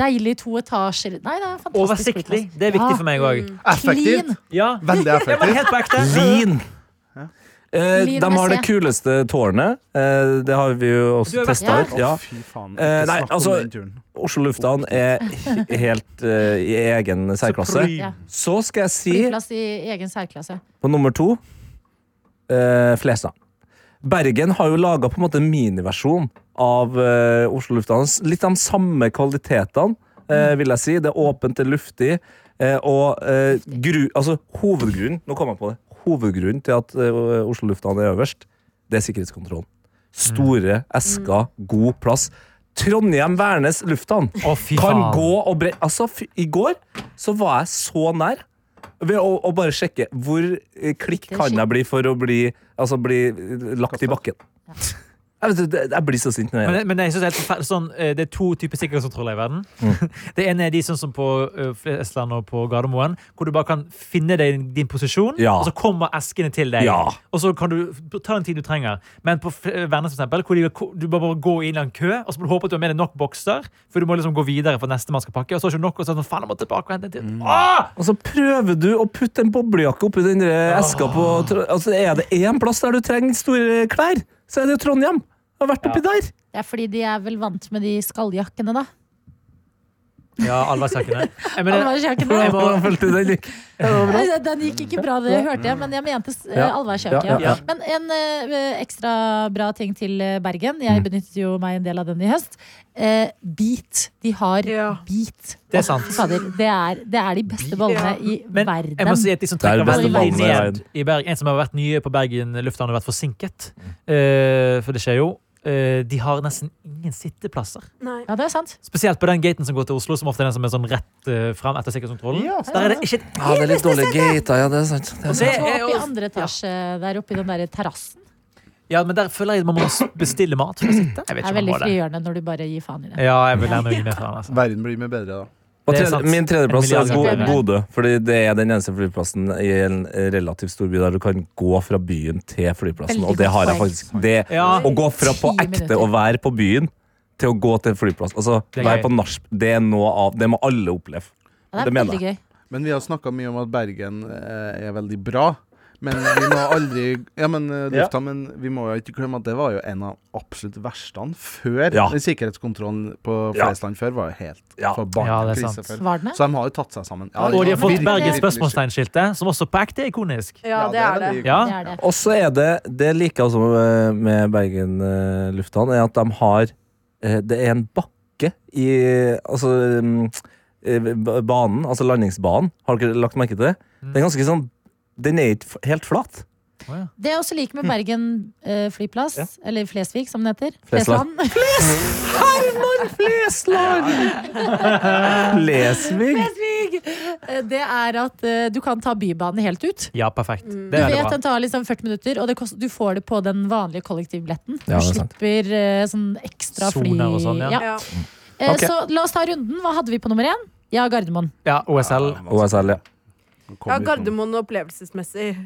S2: deilig to etasjer. Nei, det er en fantastisk
S4: Oversiktlig.
S2: flyplass.
S4: Det er viktig
S2: Ja.
S4: for meg òg.
S5: Mm,
S2: Mm.
S6: Effektivt.
S2: Clean.
S4: Ja.
S6: Veldig
S4: ja, men
S6: effektivt.
S4: helt på ekte.
S3: Lean! Eh,
S2: Lean
S3: de
S2: med
S3: har det
S2: C.
S3: kuleste tårnet. Eh, det har vi jo
S4: Du
S3: også
S4: har vært
S3: testa
S2: der?
S3: ut. Ja.
S6: Å, fy faen.
S3: Eh,
S6: Ikke
S3: nei,
S6: snakk om
S3: altså-
S6: den turen.
S3: Oslo lufthavn er he- helt eh, i egen særklasse.
S4: Supreme.
S2: Ja.
S3: Så skal jeg si
S2: Flyplass i egen særklasse.
S3: På nummer to eh, Flesland. Bergen har jo laga en miniversjon av eh, Oslo lufthavn. Litt de samme kvalitetene, eh, vil jeg si. Det er åpent, det er luftig. Eh, og eh, gru, altså, hovedgrunnen Nå kom jeg på det. Hovedgrunnen til at eh, Oslo lufthavn er øverst, det er sikkerhetskontrollen. Store esker, god plass. Trondheim-Værnes lufthavn
S4: Å, fy
S3: kan
S4: faen.
S3: gå og bre... Altså, fy- i går så var jeg så nær ved å, å bare sjekke hvor eh, klikk
S2: Det
S3: kan
S2: skjer.
S3: jeg bli for å bli, altså, bli eh, lagt i bakken. Jeg, vet, det- jeg blir så sint når jeg gjør det.
S4: Men, men jeg synes det, er helt forferdelig, sånn, eh, det er to typer sikkerhetskontroller i verden. Det ene er de sånn som på eh, Flesland og på Gardermoen, hvor du bare kan finne deg, din posisjon,
S3: Ja.
S4: og så kommer eskene til deg.
S3: Ja.
S4: Og så kan du ta den tiden du trenger. Men på F- eh, Værnes, for eksempel, hvor de, ko- du bare må gå inn i en kø, og så må du håpe at du har med deg nok bokser, for du må liksom gå videre for neste man skal pakke. Og så er det ikke nok, og så er det sånn, faen, jeg må tilbake og hente en til. Åh!
S3: Og så prøver du å putte en boblejakke oppi den der eska på Tro- altså, Er det én plass der du trenger store klær, så er det jo Trondheim. Jeg har vært oppi der.
S2: Det er fordi de er vel vant med de skalljakkene, da.
S4: Ja, allværsjakkene. Jeg mener,
S2: Allværsjakkene.
S3: Hvordan følte du den?
S2: Nei, Den gikk ikke bra, det hørte jeg, men jeg mente s-
S3: Ja.
S2: allværsjakke.
S3: Ja, ja,
S4: ja.
S2: Men en eh, ekstra bra ting til eh, Bergen.
S4: Mm.
S2: Jeg benyttet jo meg en del av den i høst. Eh, beat. De har
S5: Ja.
S2: beat.
S4: Det er
S2: Å,
S4: sant.
S2: fy Fader, det, er, det er de beste bollene i
S4: Men jeg må
S2: verden.
S4: si at de som
S3: Det er
S4: trekker
S3: det beste
S4: veldig
S2: valget
S3: i
S4: ned
S3: verden.
S4: i Bergen, en som har vært nye på Bergen lufthavn, har vært forsinket. Eh, for det skjer jo. Eh, de har nesten ingen sitteplasser.
S5: Nei.
S2: Ja, det er sant.
S4: Spesielt på den gaten som går til Oslo, som ofte er den som er sånn rett uh, fram etter sikkerhetskontrollen.
S6: Ja,
S4: Så der er det ikke et
S3: Ja, det er litt dårlige gater. Ja, det er sant. Det er
S4: Og
S3: sant.
S4: det
S2: Så
S4: er
S2: opp i
S4: jo-
S2: andre etasje der oppe i den der terrassen.
S4: Ja, men der føler jeg man må bestille mat for å sitte. Jeg vet
S2: Det er
S4: ikke om
S2: veldig
S4: man må det.
S2: frigjørende når du bare gir faen i det.
S4: Ja, jeg vil gjerne gi meg fra den. Altså.
S6: Verden blir mye bedre da.
S3: Og
S4: Det er
S3: tredje-
S4: sant.
S3: min tredjeplass
S4: En
S3: er
S4: milliard
S3: Bo-
S2: ganger.
S3: Bodø, fordi det er den eneste flyplassen i en relativt stor by der du kan gå fra byen til flyplassen.
S2: Veldig
S3: og det
S2: godt
S3: har jeg
S2: poeng.
S3: faktisk. Det,
S4: Ja.
S3: Å gå fra på
S2: Ti
S3: ekte
S2: minutter.
S3: å være på byen til å gå til en flyplass, altså
S4: Det er
S3: være
S4: gøy.
S3: på nachspiel, det er noe av Det må alle oppleve.
S2: Ja, det
S3: Det
S2: er
S3: mener
S2: veldig gøy.
S6: Men vi har snakka mye om at Bergen eh, er veldig bra. Men vi må aldri Ja, men eh,
S3: Ja.
S6: lufta, men vi må jo ikke glemme at det var jo en av absolutt verste før.
S3: Ja.
S6: Den sikkerhetskontrollen på
S3: Ja.
S6: Flesland før var jo helt
S3: Ja.
S6: forbanna
S4: Ja, det er
S6: krise
S4: sant.
S6: før.
S2: Var den det?
S6: Så de har jo tatt seg sammen. Ja,
S4: Og de har fått
S6: virkelig,
S4: Bergens
S6: virkelig
S4: spørsmålstegnskiltet, som også på ekte er ikonisk.
S5: Ja, det er det.
S6: veldig-
S4: Ja,
S2: Det er det.
S3: Og så er det Det jeg liker også med- med Bergen eh, lufthavn, er at de har eh, Det er en bakke i Altså mm, eh, ba- banen, altså landingsbanen. Har dere lagt merke til det? Den er ganske sånn Den er ikke f- helt flat.
S2: Det jeg også liker
S4: Mm.
S2: med Bergen eh, flyplass, eller Flesvig som den heter
S3: Flesland. Herman Flesland! Lesvig.
S2: Flesvig! Eh, Det er at eh, du kan ta Bybanen helt ut.
S4: Ja, perfekt. Det
S2: Du
S4: er veldig
S2: vet
S4: bra.
S2: den tar liksom 40 minutter, og det kost, du får det på den vanlige kollektivbilletten. Du
S3: Ja, det er sant.
S2: slipper eh, sånn ekstra fly
S4: Soner og sånn, ja.
S2: Ja.
S5: Ja.
S2: Eh,
S3: Ok.
S2: Så la oss ta runden. Hva hadde vi på nummer én? Ja, Gardermoen.
S4: Ja, OSL.
S3: OSL, ja.
S6: Kom
S5: ja,
S6: utenom.
S5: Gardermoen opplevelsesmessig.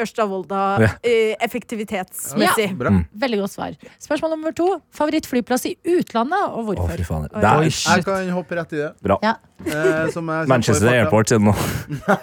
S5: Ørsta-Volda
S3: Ja.
S5: eh, effektivitetsmessig.
S6: Bra.
S2: Veldig godt svar. Spørsmål nummer to. Favorittflyplass i utlandet, og
S3: Å, fy
S2: hvorfor?
S3: faen.
S5: Oi.
S3: Det
S4: Oi,
S3: er
S4: shit.
S6: Jeg kan hoppe rett i det.
S3: Bra.
S2: Ja.
S6: Eh, som jeg-
S3: Manchester Airport siden nå.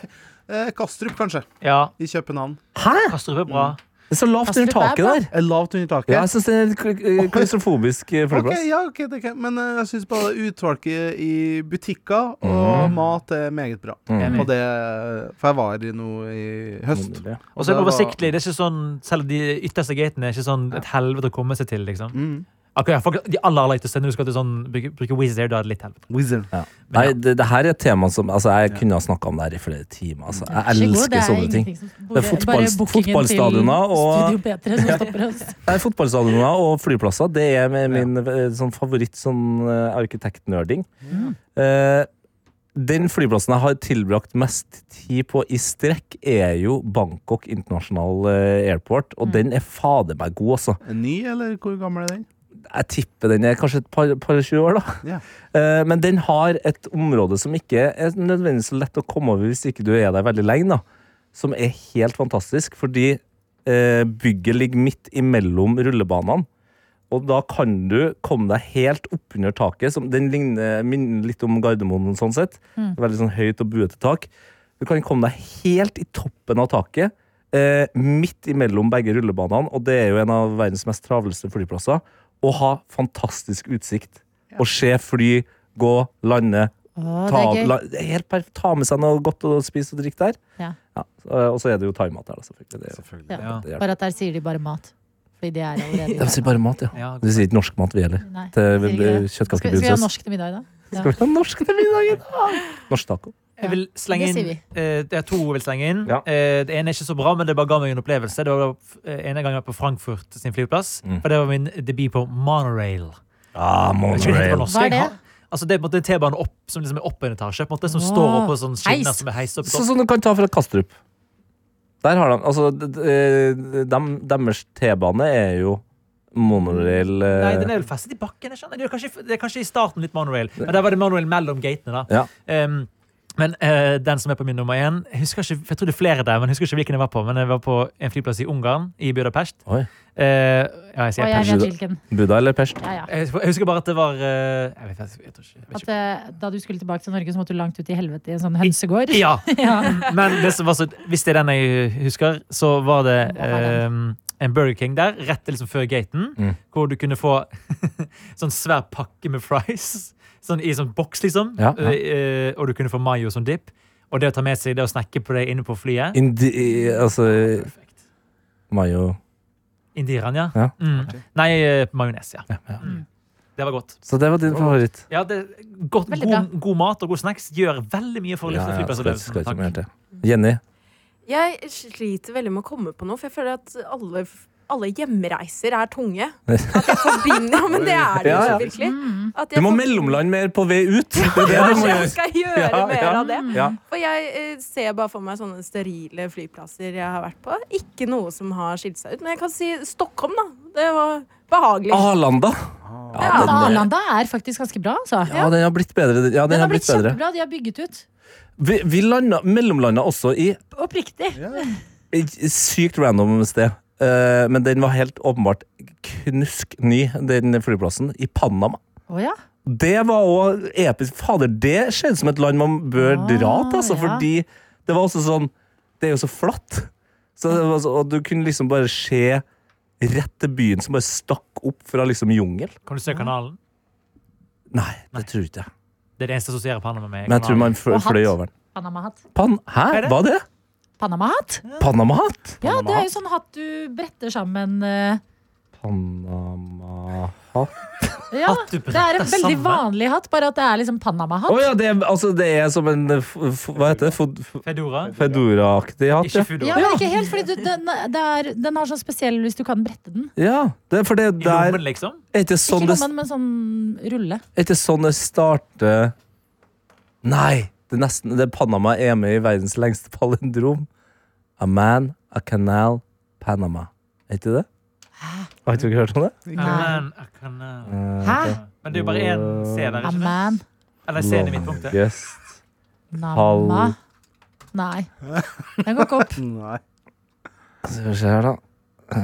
S6: Eh, Kastrup, kanskje.
S4: Ja.
S6: I København.
S4: Kastrup er bra.
S3: Det er så lavt under
S2: Kastrup er
S3: taket
S2: bra.
S3: der.
S6: Eh, Lavt under taket.
S3: Ja, jeg syns det er en kl- eh, klaustrofobisk eh,
S6: Ok,
S3: flyplass.
S6: ja, ok, det kan. Men eh, jeg syns bare utvalget i butikker og
S3: Mhm.
S6: mat er meget bra.
S4: Enig.
S6: Og det, eh, for jeg var i noe i høst.
S3: Ja.
S4: Og så er det
S6: det var-
S4: oversiktlig. Det er ikke sånn, selv de ytterste gatene er ikke sånn et helvete å komme seg til. liksom.
S6: Mm.
S4: Akkurat, ja, folk, de aller aller ytterste, når du skal til sånn, bruke, bruke Wizz Air, da er det litt helvete.
S6: Wizard.
S3: Nei, det, det her er et tema som altså, Jeg kunne ha snakka om det her i flere timer. Altså. Jeg elsker sånne ting.
S2: Det
S3: Det er fotballs- fotballstadioner og-
S2: Studio P3 som stopper oss.
S3: Nei, Fotballstadioner og flyplasser Det er min, min eh, sånn favoritt sånn, eh, arkitektnerding. Eh, den flyplassen jeg har tilbrakt mest tid på i strekk, er jo Bangkok International eh, Airport. Og den er fader meg god, altså.
S6: Ny, eller hvor gammel er den?
S3: Jeg tipper den er kanskje et par, par 20 år, da.
S6: Ja.
S3: Eh, Men den har et område som ikke er nødvendigvis så lett å komme over hvis ikke du er der veldig lenge, da. Som er helt fantastisk, fordi eh, bygget ligger midt imellom rullebanene. Og da kan du komme deg helt oppunder taket. Som, den ligner minner litt om Gardermoen, sånn sett.
S2: Mm.
S3: Veldig sånn høyt og buete tak. Du kan komme deg helt i toppen av taket, eh, midt imellom begge rullebanene. Og det er jo en av verdens mest travleste flyplasser. Og ha fantastisk utsikt. Og se fly gå, lande.
S2: Å, det
S3: Ta,
S2: er gøy.
S3: la, det er helt perfekt. ta med seg noe godt å spise og drikke der.
S2: Ja.
S3: Ja, så, eh, og så er det jo thaimat der, da, selvfølgelig. Det, er jo-
S6: Selvfølgelig.
S2: Ja.
S4: Ja.
S3: det hjelper.
S2: Bare at der sier de bare mat. Fordi det er allerede
S3: De sier bare mat, ja.
S4: Ja,
S3: De sier ikke norsk mat, vi heller.
S2: Nei,
S3: Til
S2: sier ikke det. Skal, skal vi ha
S3: kjøttkakeprinsesse.
S2: norsk til middag i dag?
S3: Skal vi ha norsk til middag i dag? Norsk taco.
S4: Jeg vil slenge
S2: det
S4: inn,
S2: sier
S4: eh, det er to jeg vil slenge inn.
S3: Ja.
S4: Eh, det ene er ikke så bra, men det bare ga meg en opplevelse. Det var eh, ene gang jeg var på Frankfurt sin flyplass.
S3: Mm.
S4: For det var min debut på monorail.
S3: Ah,
S4: Jeg tror det heter på norsk,
S2: Hva er
S4: jeg.
S2: det?
S4: Altså, det er på en måte en T-bane opp, som liksom er opp en etasje. På en måte, som står oppå sånn skinner
S2: Heis.
S4: som er heist opp. i
S3: Sånn
S4: toppen.
S3: som du kan ta fra Kastrup. Der har de Altså, d- d- eh, dem, deres T-bane er jo monorail eh,
S4: Nei, den er vel festet i bakken. Jeg skjønner. Det er kanskje, det er kanskje i starten litt monorail, men der var det monorail mellom gatene. da.
S3: Ja.
S4: Ehm, men eh, den som er på min nummer én jeg husker ikke, Jeg tror det er flere der, men jeg husker ikke hvilken jeg var på. Men jeg var på en flyplass i Ungarn, i Budapest.
S3: Oi.
S4: Eh, ja, jeg sier
S2: Og
S4: Pest.
S2: jeg vet hvilken.
S3: Buda eh, eller Pest?
S2: Ja, ja.
S4: Jeg jeg husker bare at det var eh, Jeg vet, faktisk- jeg tror ikke, jeg vet
S2: At
S4: ikke.
S2: eh, da du skulle tilbake til Norge, så måtte du langt ut i helvete i en sånn hønsegård.
S4: Ja,
S2: Ja.
S4: men det som var så, hvis det er den jeg husker, så var det
S2: Må ha den.
S4: eh, en Burger King der, rett liksom før gaten,
S3: Mm.
S4: hvor du kunne få sånn svær pakke med fries sånn i sånn boks, liksom.
S3: Ja, ja.
S4: Eh, og du kunne få mayo som dip. Og det å ta med seg det å snakke på deg inne på flyet.
S3: Indi... i- Altså
S4: Perfekt.
S3: Mayo
S4: Indiran, ja.
S3: Ja.
S4: Mm. Nei, eh, majones, ja.
S2: Mm.
S4: Det var godt.
S3: Så det var din favoritt.
S4: Ja, det, godt
S2: Veldig bra.
S4: god, god mat og god snacks gjør veldig mye for å
S3: Ja,
S4: løfte
S3: ja, skal, skal
S4: flyplassopplevelsen.
S3: ikke mer
S4: Takk.
S3: til. Jenny.
S5: Jeg sliter veldig med å komme på noe, for jeg føler at alle, alle hjemreiser er tunge. At jeg forbinder Ja, men det er det jo
S3: Ja, ja.
S5: virkelig. At
S3: Du
S5: jeg
S3: må
S5: for-
S3: mellomland mer på vei ut! Det er det du må
S5: Kanskje jeg
S3: gjøre.
S5: skal gjøre
S3: Ja,
S5: mer
S3: ja.
S5: av det.
S3: Ja.
S5: For jeg eh, ser bare for meg sånne sterile flyplasser jeg har vært på. Ikke noe som har skilt seg ut. Men jeg kan si Stockholm, da. Det var behagelig.
S3: Arlanda.
S4: Ah.
S2: Ja,
S3: den, eh,
S2: Arlanda er faktisk ganske bra, altså.
S3: Ja, den har blitt bedre. Ja, den,
S2: Den
S3: har blitt bedre.
S2: kjempebra. De har bygget ut.
S3: Vi, vi landa, mellomlanda også i
S2: Oppriktig.
S3: et sykt random sted. Eh, men den var helt åpenbart knusk ny, den flyplassen, i Panama.
S2: Å ja.
S3: Det var òg episk. Fader, det skjedde som et land man bør
S2: Ah,
S3: dra til, altså,
S2: ja.
S3: fordi det var også sånn Det er jo så flatt. Så det var så, og du kunne liksom bare se rett til byen som bare stakk opp fra liksom jungel.
S4: Kan du se kanalen?
S3: Nei, det tror ikke jeg.
S4: Det er det eneste jeg assosierer Panama med.
S3: Men jeg tror
S4: kanalen.
S3: man fløy,
S2: Og hatt.
S3: fløy over den.
S2: Panamahatt.
S3: Pan Hæ,
S4: Er det?
S3: hva er det?
S2: Panamahatt?
S3: Panamahatt?
S2: Ja, det er jo sånn hatt du bretter sammen. eh,
S3: Panamahatt
S2: Ja,
S4: Hatt du
S2: det er
S4: bretter
S2: en veldig
S4: sammen?
S2: vanlig hatt, bare at det er liksom
S3: Å
S2: Panamahatt.
S3: ja, det er, altså, det er som en eh, f f hva heter det? Fod- f-
S4: Fedora?
S3: Fedora-aktig hatt,
S4: Ikke
S3: ja.
S4: Fedora.
S2: Ja, men ikke helt, fordi du, den, det er, den er sånn spesiell hvis du kan brette den.
S3: ja det, er- for det
S4: I
S3: der
S4: lommen, liksom?
S3: Er ikke
S2: Ikke
S3: sånn det
S2: lommen, men sånn rulle.
S3: Er ikke sånn det starter Nei! Det er nesten det er Panama er med i verdens lengste palindrom. A man, a canal, Panama. Er ikke det? Har ikke dere hørt om det?
S4: Amen, a
S3: Eh,
S4: canal.
S2: Hæ?
S4: eh, Men det er jo bare én C der, ikke sant?
S2: Amen.
S4: Eller C-en i midtpunktet.
S3: Longest
S2: Namma. Nei. Den går ikke opp.
S6: Nei.
S3: Skal vi se her, da. Eh,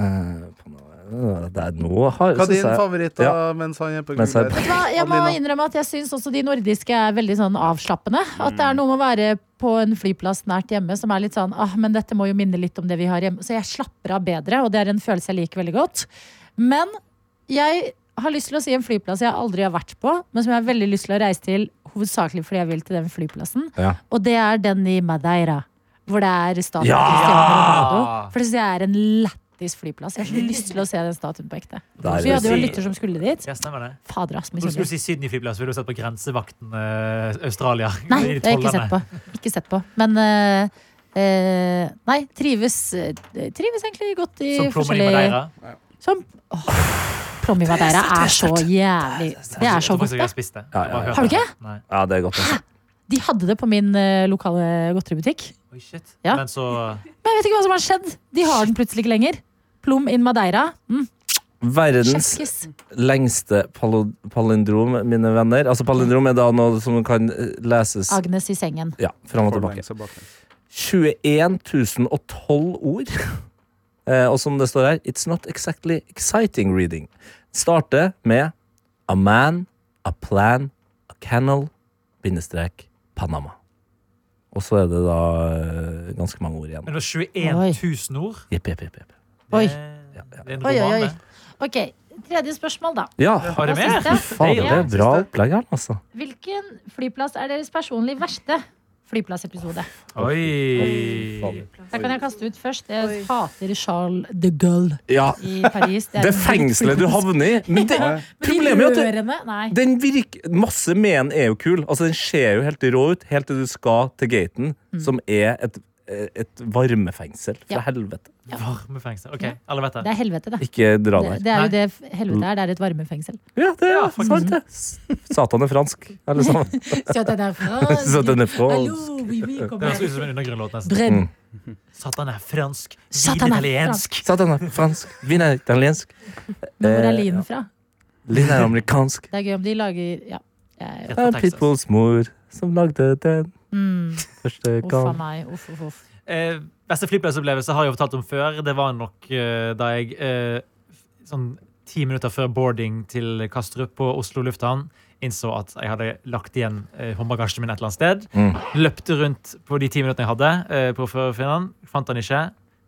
S3: Panama Det er nå har
S6: Hva er
S3: synes
S6: din
S3: jeg-
S6: favoritt da, mens han er på
S3: Mens han-
S6: Google?
S2: Vet du hva, Jeg må
S6: Adelina.
S2: innrømme at jeg syns også de nordiske er veldig sånn avslappende. At det er noe med å være på en flyplass nært hjemme som er litt sånn ah, men dette må jo minne litt om det vi har hjemme. Så jeg slapper av bedre, og det er en følelse jeg liker veldig godt. Men jeg har lyst til å si en flyplass jeg aldri har vært på, men som jeg har veldig lyst til å reise til, hovedsakelig fordi jeg vil til den flyplassen.
S3: Ja.
S2: Og det er den i Madeira, hvor det er statuen
S3: Ja!
S2: til Cristiano Ronaldo. For det syns jeg er en lættis flyplass. Jeg har lyst til å se den statuen på ekte.
S3: Mm. Der
S2: Så vi hadde jo en
S3: vil jeg si-
S2: lytter som skulle dit.
S4: Ja, stemmer det.
S2: Fader, ass,
S4: Når du
S2: misunnelig.
S4: skulle si Sydney flyplass, ville du sett på Grensevakten eh, Australia.
S2: Nei,
S4: I de
S2: det har jeg ikke
S4: tollerne.
S2: sett på. Ikke sett på. Men eh, eh, Nei, trives, eh, trives egentlig godt i
S4: Som Plommen i
S2: forskjellige
S4: Madeira.
S2: Som Åh, Plommen i Madeira er så jævlig Det er så
S4: Jeg tror
S2: godt,
S4: faktisk jeg
S2: det.
S4: har spist det.
S3: Ja, ja,
S4: Jeg bare
S3: ja.
S4: hørte
S2: Har du ikke?
S4: det. Nei.
S3: Ja, det er godt. altså.
S2: De hadde det på min eh, lokale godteributikk.
S4: Oi, shit.
S2: Ja.
S4: Men så
S2: Men jeg vet ikke hva som har skjedd. De har den plutselig ikke lenger. Plom in Madeira. Mm,
S3: Verdens
S2: Sjekkes.
S3: lengste palo palindrom, mine venner. Altså, palindrom er da noe som kan eh, leses
S2: Agnes i sengen.
S3: ja, fram og tilbake.
S6: Forlengs og baklengs.
S3: 21 012 ord. Eh, og som det står her, it's not exactly exciting reading. Starte med a man, a plan, a canal, bindestrek, Panama. Og så er det da eh, ganske mange ord igjen.
S4: Men det var 21
S2: Oi.
S4: 000 ord.
S3: Jepp, jepp, jepp. jepp.
S4: Det,
S2: Oi.
S4: det er en
S2: Oi, oi, oi.
S4: roman, det.
S2: Ok, tredje spørsmål, da.
S3: Ja,
S4: Har du
S2: Hva
S4: mer?
S2: syns dere?
S3: faen, det
S2: Ja.
S3: er bra opplegg her, altså.
S2: Hvilken flyplass er deres personlig verste flyplassepisode?
S4: Oi.
S2: Da kan jeg kaste ut først. Jeg hater Charles de Gaulle
S3: Ja,
S2: i Paris. er
S3: det
S2: en
S3: fengselet du
S2: drittflyplass.
S3: havner i. Men det,
S2: Men de
S3: problemet er jo at det,
S2: rørene, Nei.
S3: Den virker, masse med den er jo kul. Altså Den ser jo helt rå ut helt til du skal til gaten, som er et, et varmefengsel.
S2: Mm.
S3: Fra
S2: Ja.
S3: helvete.
S4: Varmefengsel. OK, alle vet
S2: Det
S4: det.
S2: er helvete, det.
S3: Ikke dra
S2: Det,
S3: der.
S2: det er jo
S4: Nei.
S2: det f- helvete er. Det er et varmefengsel.
S3: Ja, det er
S4: Ja, faktisk.
S3: sant, det. S- Satan er fransk, alle sammen.
S2: Så den er
S3: Så den er Mm. fransk.
S2: Hallo, vi, vi
S4: Det
S2: kommer
S4: høres ut som en undergrunnlåt, nesten.
S2: Brenn.
S4: Satan er fransk.
S2: Satan
S4: Vin
S2: er
S4: italiensk.
S3: Satan er fransk. Vin er italiensk.
S2: Men hvor
S3: Eh,
S2: er linen fra?
S3: Lin er amerikansk.
S2: Det er gøy om de lager Ja. jeg-
S4: Rett
S3: Det
S4: fra
S3: er
S4: Texas.
S3: Pitbulls mor som lagde den
S2: Mm,
S3: første
S2: uff a
S3: gang.
S2: meg. Uff, uff, uff.
S4: Eh, beste flyplassopplevelse har jeg jo fortalt om før. Det var nok eh, da jeg eh, f- sånn ti minutter før boarding til Kastrup på Oslo lufthavn innså at jeg hadde lagt igjen eh, håndbagasjen min et eller annet sted.
S3: Mm.
S4: Løpte rundt på de ti minuttene jeg hadde eh, på for å finne den. Fant den ikke.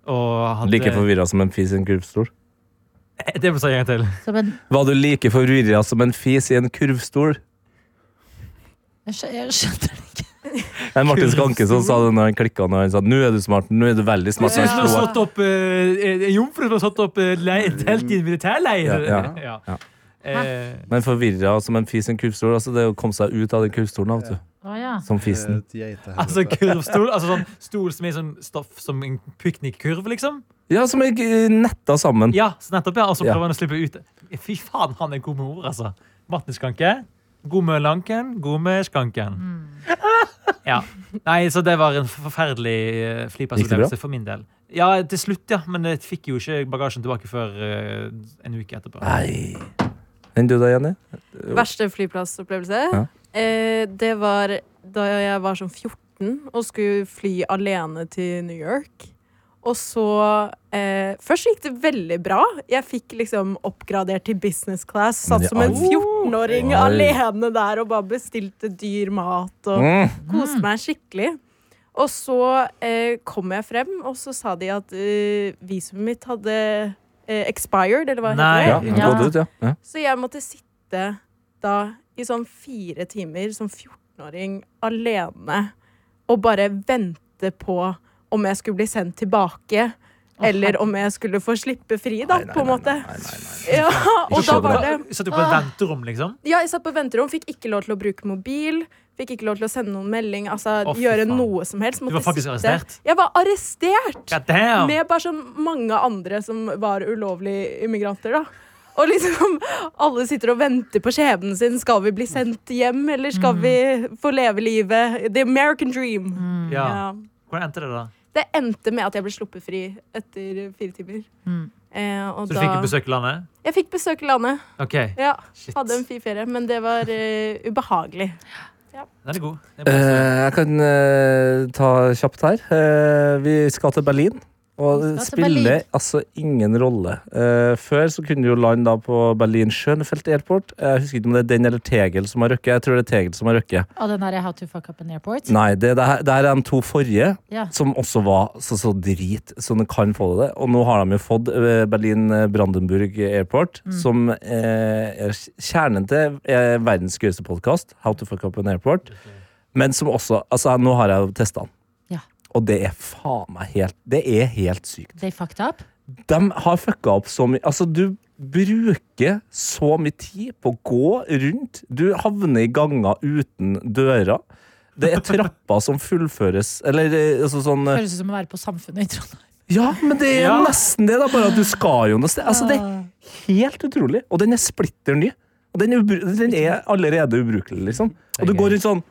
S4: Og hadde
S3: Like forvirra som en fis i en kurvstol.
S4: Eh, Det må jeg si en gang til.
S2: Som en
S3: Var du like forvirra som en fis i en kurvstol?
S2: Jeg skjø- jeg skjønner det ikke.
S3: Det er Martin Skanke som sa det når han klikka. Når han sa, Nå er du smart. Nå er du veldig smart. Så
S4: Hvis
S3: han
S4: man har
S3: slo av.
S4: satt opp eh, En jomfru som har satt opp eh, leir, telt i en militærleir.
S3: Ja,
S4: Ja.
S3: ja.
S4: Eh,
S3: Men forvirra som en fis i en kurvstol. Altså, det er å komme seg ut av den kurvstolen, vet du.
S2: Å ja.
S3: Som
S6: Det er
S3: fisen.
S6: et geitehelvete.
S4: altså kurvstol. Altså sånn stol som er sånn stoff som en piknikkurv, liksom.
S3: Ja, som er eh, netta sammen.
S4: Ja, så nettopp, ja. Og så
S3: Ja.
S4: prøver han å slippe ut. Fy faen, han er god med ord, altså. Martin Skanke. God med lanken, god med skanken.
S5: Mm.
S4: Ja. Nei, så det var en forferdelig
S3: Gikk
S4: eh,
S3: det
S4: flyplassopplevelse for min del. Ja, til slutt, ja. Men jeg fikk jo ikke bagasjen tilbake før eh, en uke etterpå.
S3: Nei. Enn du da, Jenny?
S5: Verste flyplassopplevelse?
S3: Ja.
S5: Eh, det var da jeg var sånn 14 og skulle fly alene til New York. Og så eh, Først gikk det veldig bra. Jeg fikk liksom oppgradert til business class. Satt
S3: Ja,
S5: som en
S3: oi.
S5: 14-åring
S3: Oi.
S5: alene der og bare bestilte dyr mat og
S3: Mm.
S5: koste meg skikkelig. Og så eh, kom jeg frem, og så sa de at eh, visumet mitt hadde eh, expired, eller hva
S4: Nei.
S5: heter det?
S3: Ja, den
S2: Ja.
S3: gått ut, ja. ja.
S5: Så jeg måtte sitte da i sånn fire timer som 14-åring alene og bare vente på om jeg skulle bli sendt tilbake. Eller om jeg skulle få slippe fri, da, på en måte. Ja, og da
S3: skjønner
S5: var det Ah.
S4: Satt du på et venterom, liksom?
S5: Ja, jeg satt på venterom, fikk ikke lov til å bruke mobil. Fikk ikke lov til å sende noen melding. Altså,
S4: Å, fy
S5: gjøre
S4: faen.
S5: noe som helst.
S4: Du
S5: Måtte
S4: var faktisk
S5: sitte-
S4: arrestert?
S5: Jeg var arrestert!
S4: God damn!
S5: Med bare sånn mange andre som var ulovlige immigranter, da. Og liksom, alle sitter og venter på skjebnen sin. Skal vi bli sendt hjem, eller skal
S4: Mm.
S5: vi få leve livet? The American dream.
S4: Ja.
S5: Ja.
S4: Hvordan endte det, da?
S5: Det endte med at jeg ble sluppet fri etter fire timer.
S2: Mm.
S5: Eh, og
S4: Så du
S5: da
S4: fikk ikke besøke landet?
S5: Jeg fikk besøk i landet.
S4: OK.
S5: Ja,
S4: Shit.
S5: Hadde en fin ferie, men det var eh, ubehagelig.
S4: Den er god. Den
S3: Eh,
S4: er god.
S3: jeg kan eh, ta kjapt her. Eh, vi skal til Berlin. Og
S2: Vi
S3: det
S2: skal til
S3: spiller
S2: Berlin.
S3: altså ingen rolle. Eh, før så kunne du jo lande da på Berlin Schönfeld Airport. Jeg husker ikke om det er den eller Tegel som har røkket. Jeg tror det er Tegel som har røkket.
S2: Og den derre How to fuck up an airport.
S3: Nei, det, det, her, det her er de to forrige,
S2: Ja.
S3: som også var så, så drit som de kan få det. Og nå har de jo fått eh, Berlin Brandenburg Airport, som eh, er kjernen til eh, verdens gøyeste podkast, How to fuck up an airport. Men som også Altså, nå har jeg jo testa den.
S2: Ja.
S3: Og det er faen meg helt Det er helt sykt.
S2: They fucked up.
S3: De har fucka opp så mye Altså, du bruker så mye tid på å gå rundt. Du havner i ganger uten dører. Det er trapper som fullføres Eller eh, altså sånn eh,
S2: Føles ut som å være på Samfunnet i Trondheim.
S3: Ja, men det er
S4: Ja.
S3: nesten det, da. Bare at du skal jo noe sted. Altså, det er helt utrolig. Og den er splitter ny. Og den er, ubru den er allerede ubrukelig, liksom. Og du går rundt sånn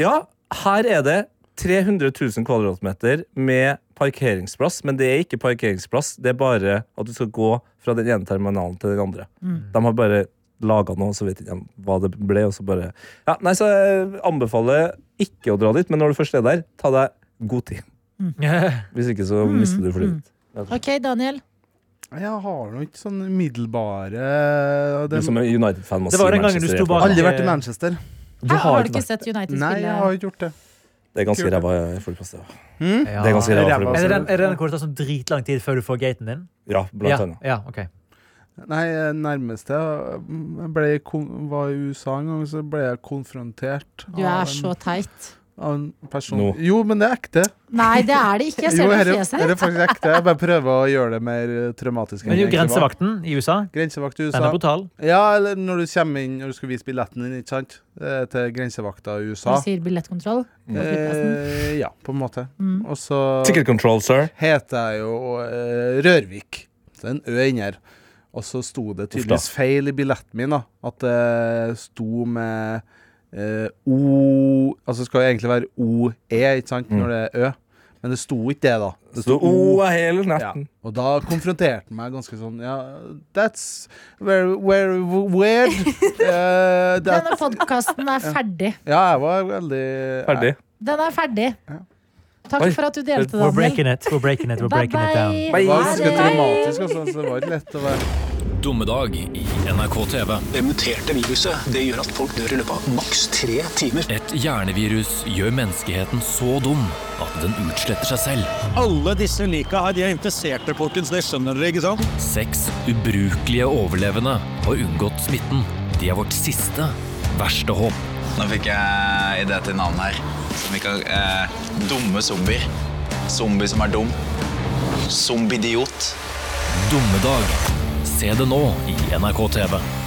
S3: Ja, her er det 300 000 kvadratmeter med parkeringsplass, men det er ikke parkeringsplass. Det er bare at du skal gå fra den ene terminalen til den andre. De har bare laga noe, så vet ikke jeg hva det ble. Og så bare ja, Nei, så jeg anbefaler ikke å dra dit, men når du først er der, ta deg god tid. Hvis ikke, så mister du flyet.
S2: Ok, Daniel.
S6: Jeg har nå ikke sånn middelbare
S3: Du
S6: det,
S3: som er United-fan må
S4: Det var
S3: si
S4: den gangen du
S3: Manchester
S4: sto
S3: United.
S4: bak-
S6: Aldri vært i Manchester.
S3: Du
S2: Hæ,
S3: har
S2: har du
S3: ikke
S2: ikke
S3: vært.
S2: sett United
S6: Nei, jeg har
S2: spille?
S6: ikke gjort det. Hm?
S3: Det er ganske ræva flyplass. det, da.
S4: Ja.
S3: Det er ganske ræva
S4: Er det
S6: Ræva.
S3: flyplass.
S4: den, er det den hvor det tar sånn dritlang tid før du får gaten din?
S3: Ja, blant
S4: ja.
S3: annet.
S4: ja, ok.
S6: Nei, eh, nærmeste Jeg ble, kon- var i USA en gang, så ble jeg konfrontert
S2: Du
S6: av
S2: er
S6: en-
S2: så teit.
S6: av en person
S3: Nå.
S6: Jo, men det er ekte.
S2: Nei, det er det ikke. Jeg
S6: jo,
S2: ser det
S6: her
S2: i
S6: er-
S2: fjeset
S6: her
S2: ditt.
S6: er faktisk ekte. Jeg bare prøver å gjøre det mer eh, traumatisk. enn
S4: Men jo,
S6: det egentlig var.
S4: grensevakten i USA,
S6: Grensevakt i
S4: den
S6: USA.
S4: er brutal.
S6: Ja, eller når du kommer inn når du skal vise billetten din, ikke sant? Eh, Til grensevakta i
S2: Du
S6: USA.
S2: sier billettkontroll. på flyplassen.
S6: Eh, ja, på en måte.
S2: Mm.
S6: Og så
S3: Ticket control, sir.
S6: heter jeg jo eh, Rørvik. Det er en ø inni her. Og så sto det tydeligvis feil i billetten min, da. At det sto med eh, O Altså det skal jo egentlig være OE, ikke sant, når det er Ø. Men det sto ikke det, da. Det
S3: Så, oh, hele natten.
S6: og da konfronterte han meg ganske sånn Ja, that's very, very weird. Eh, that,
S2: Denne podkasten er ferdig.
S6: ja, jeg var veldig
S3: Ferdig.
S2: Den er ferdig.
S6: Ja.
S2: Takk
S3: Oi.
S2: for at du delte,
S4: We're
S2: Daniel.
S4: breaking it. We're breaking it. We're
S2: Bye
S4: breaking it down.
S2: bye.
S6: Det var ganske
S2: Ha det.
S6: dramatisk, altså, så det var ikke lett å være
S1: Dommedag i NRK TV.
S7: Det muterte viruset det gjør at folk dør i løpet av maks tre timer.
S1: Et hjernevirus gjør menneskeheten så dum at den utsletter seg selv.
S8: Alle disse lika her, de er interesserte, folkens. Det skjønner dere, ikke sant?
S1: Seks ubrukelige overlevende har unngått smitten. De er vårt siste verste håp.
S9: Nå fikk jeg idé til navn her. Som vi kan eh, Dumme zombier. Zombie som er dum. Zombidiot.
S1: Dommedag. Se det nå i NRK TV.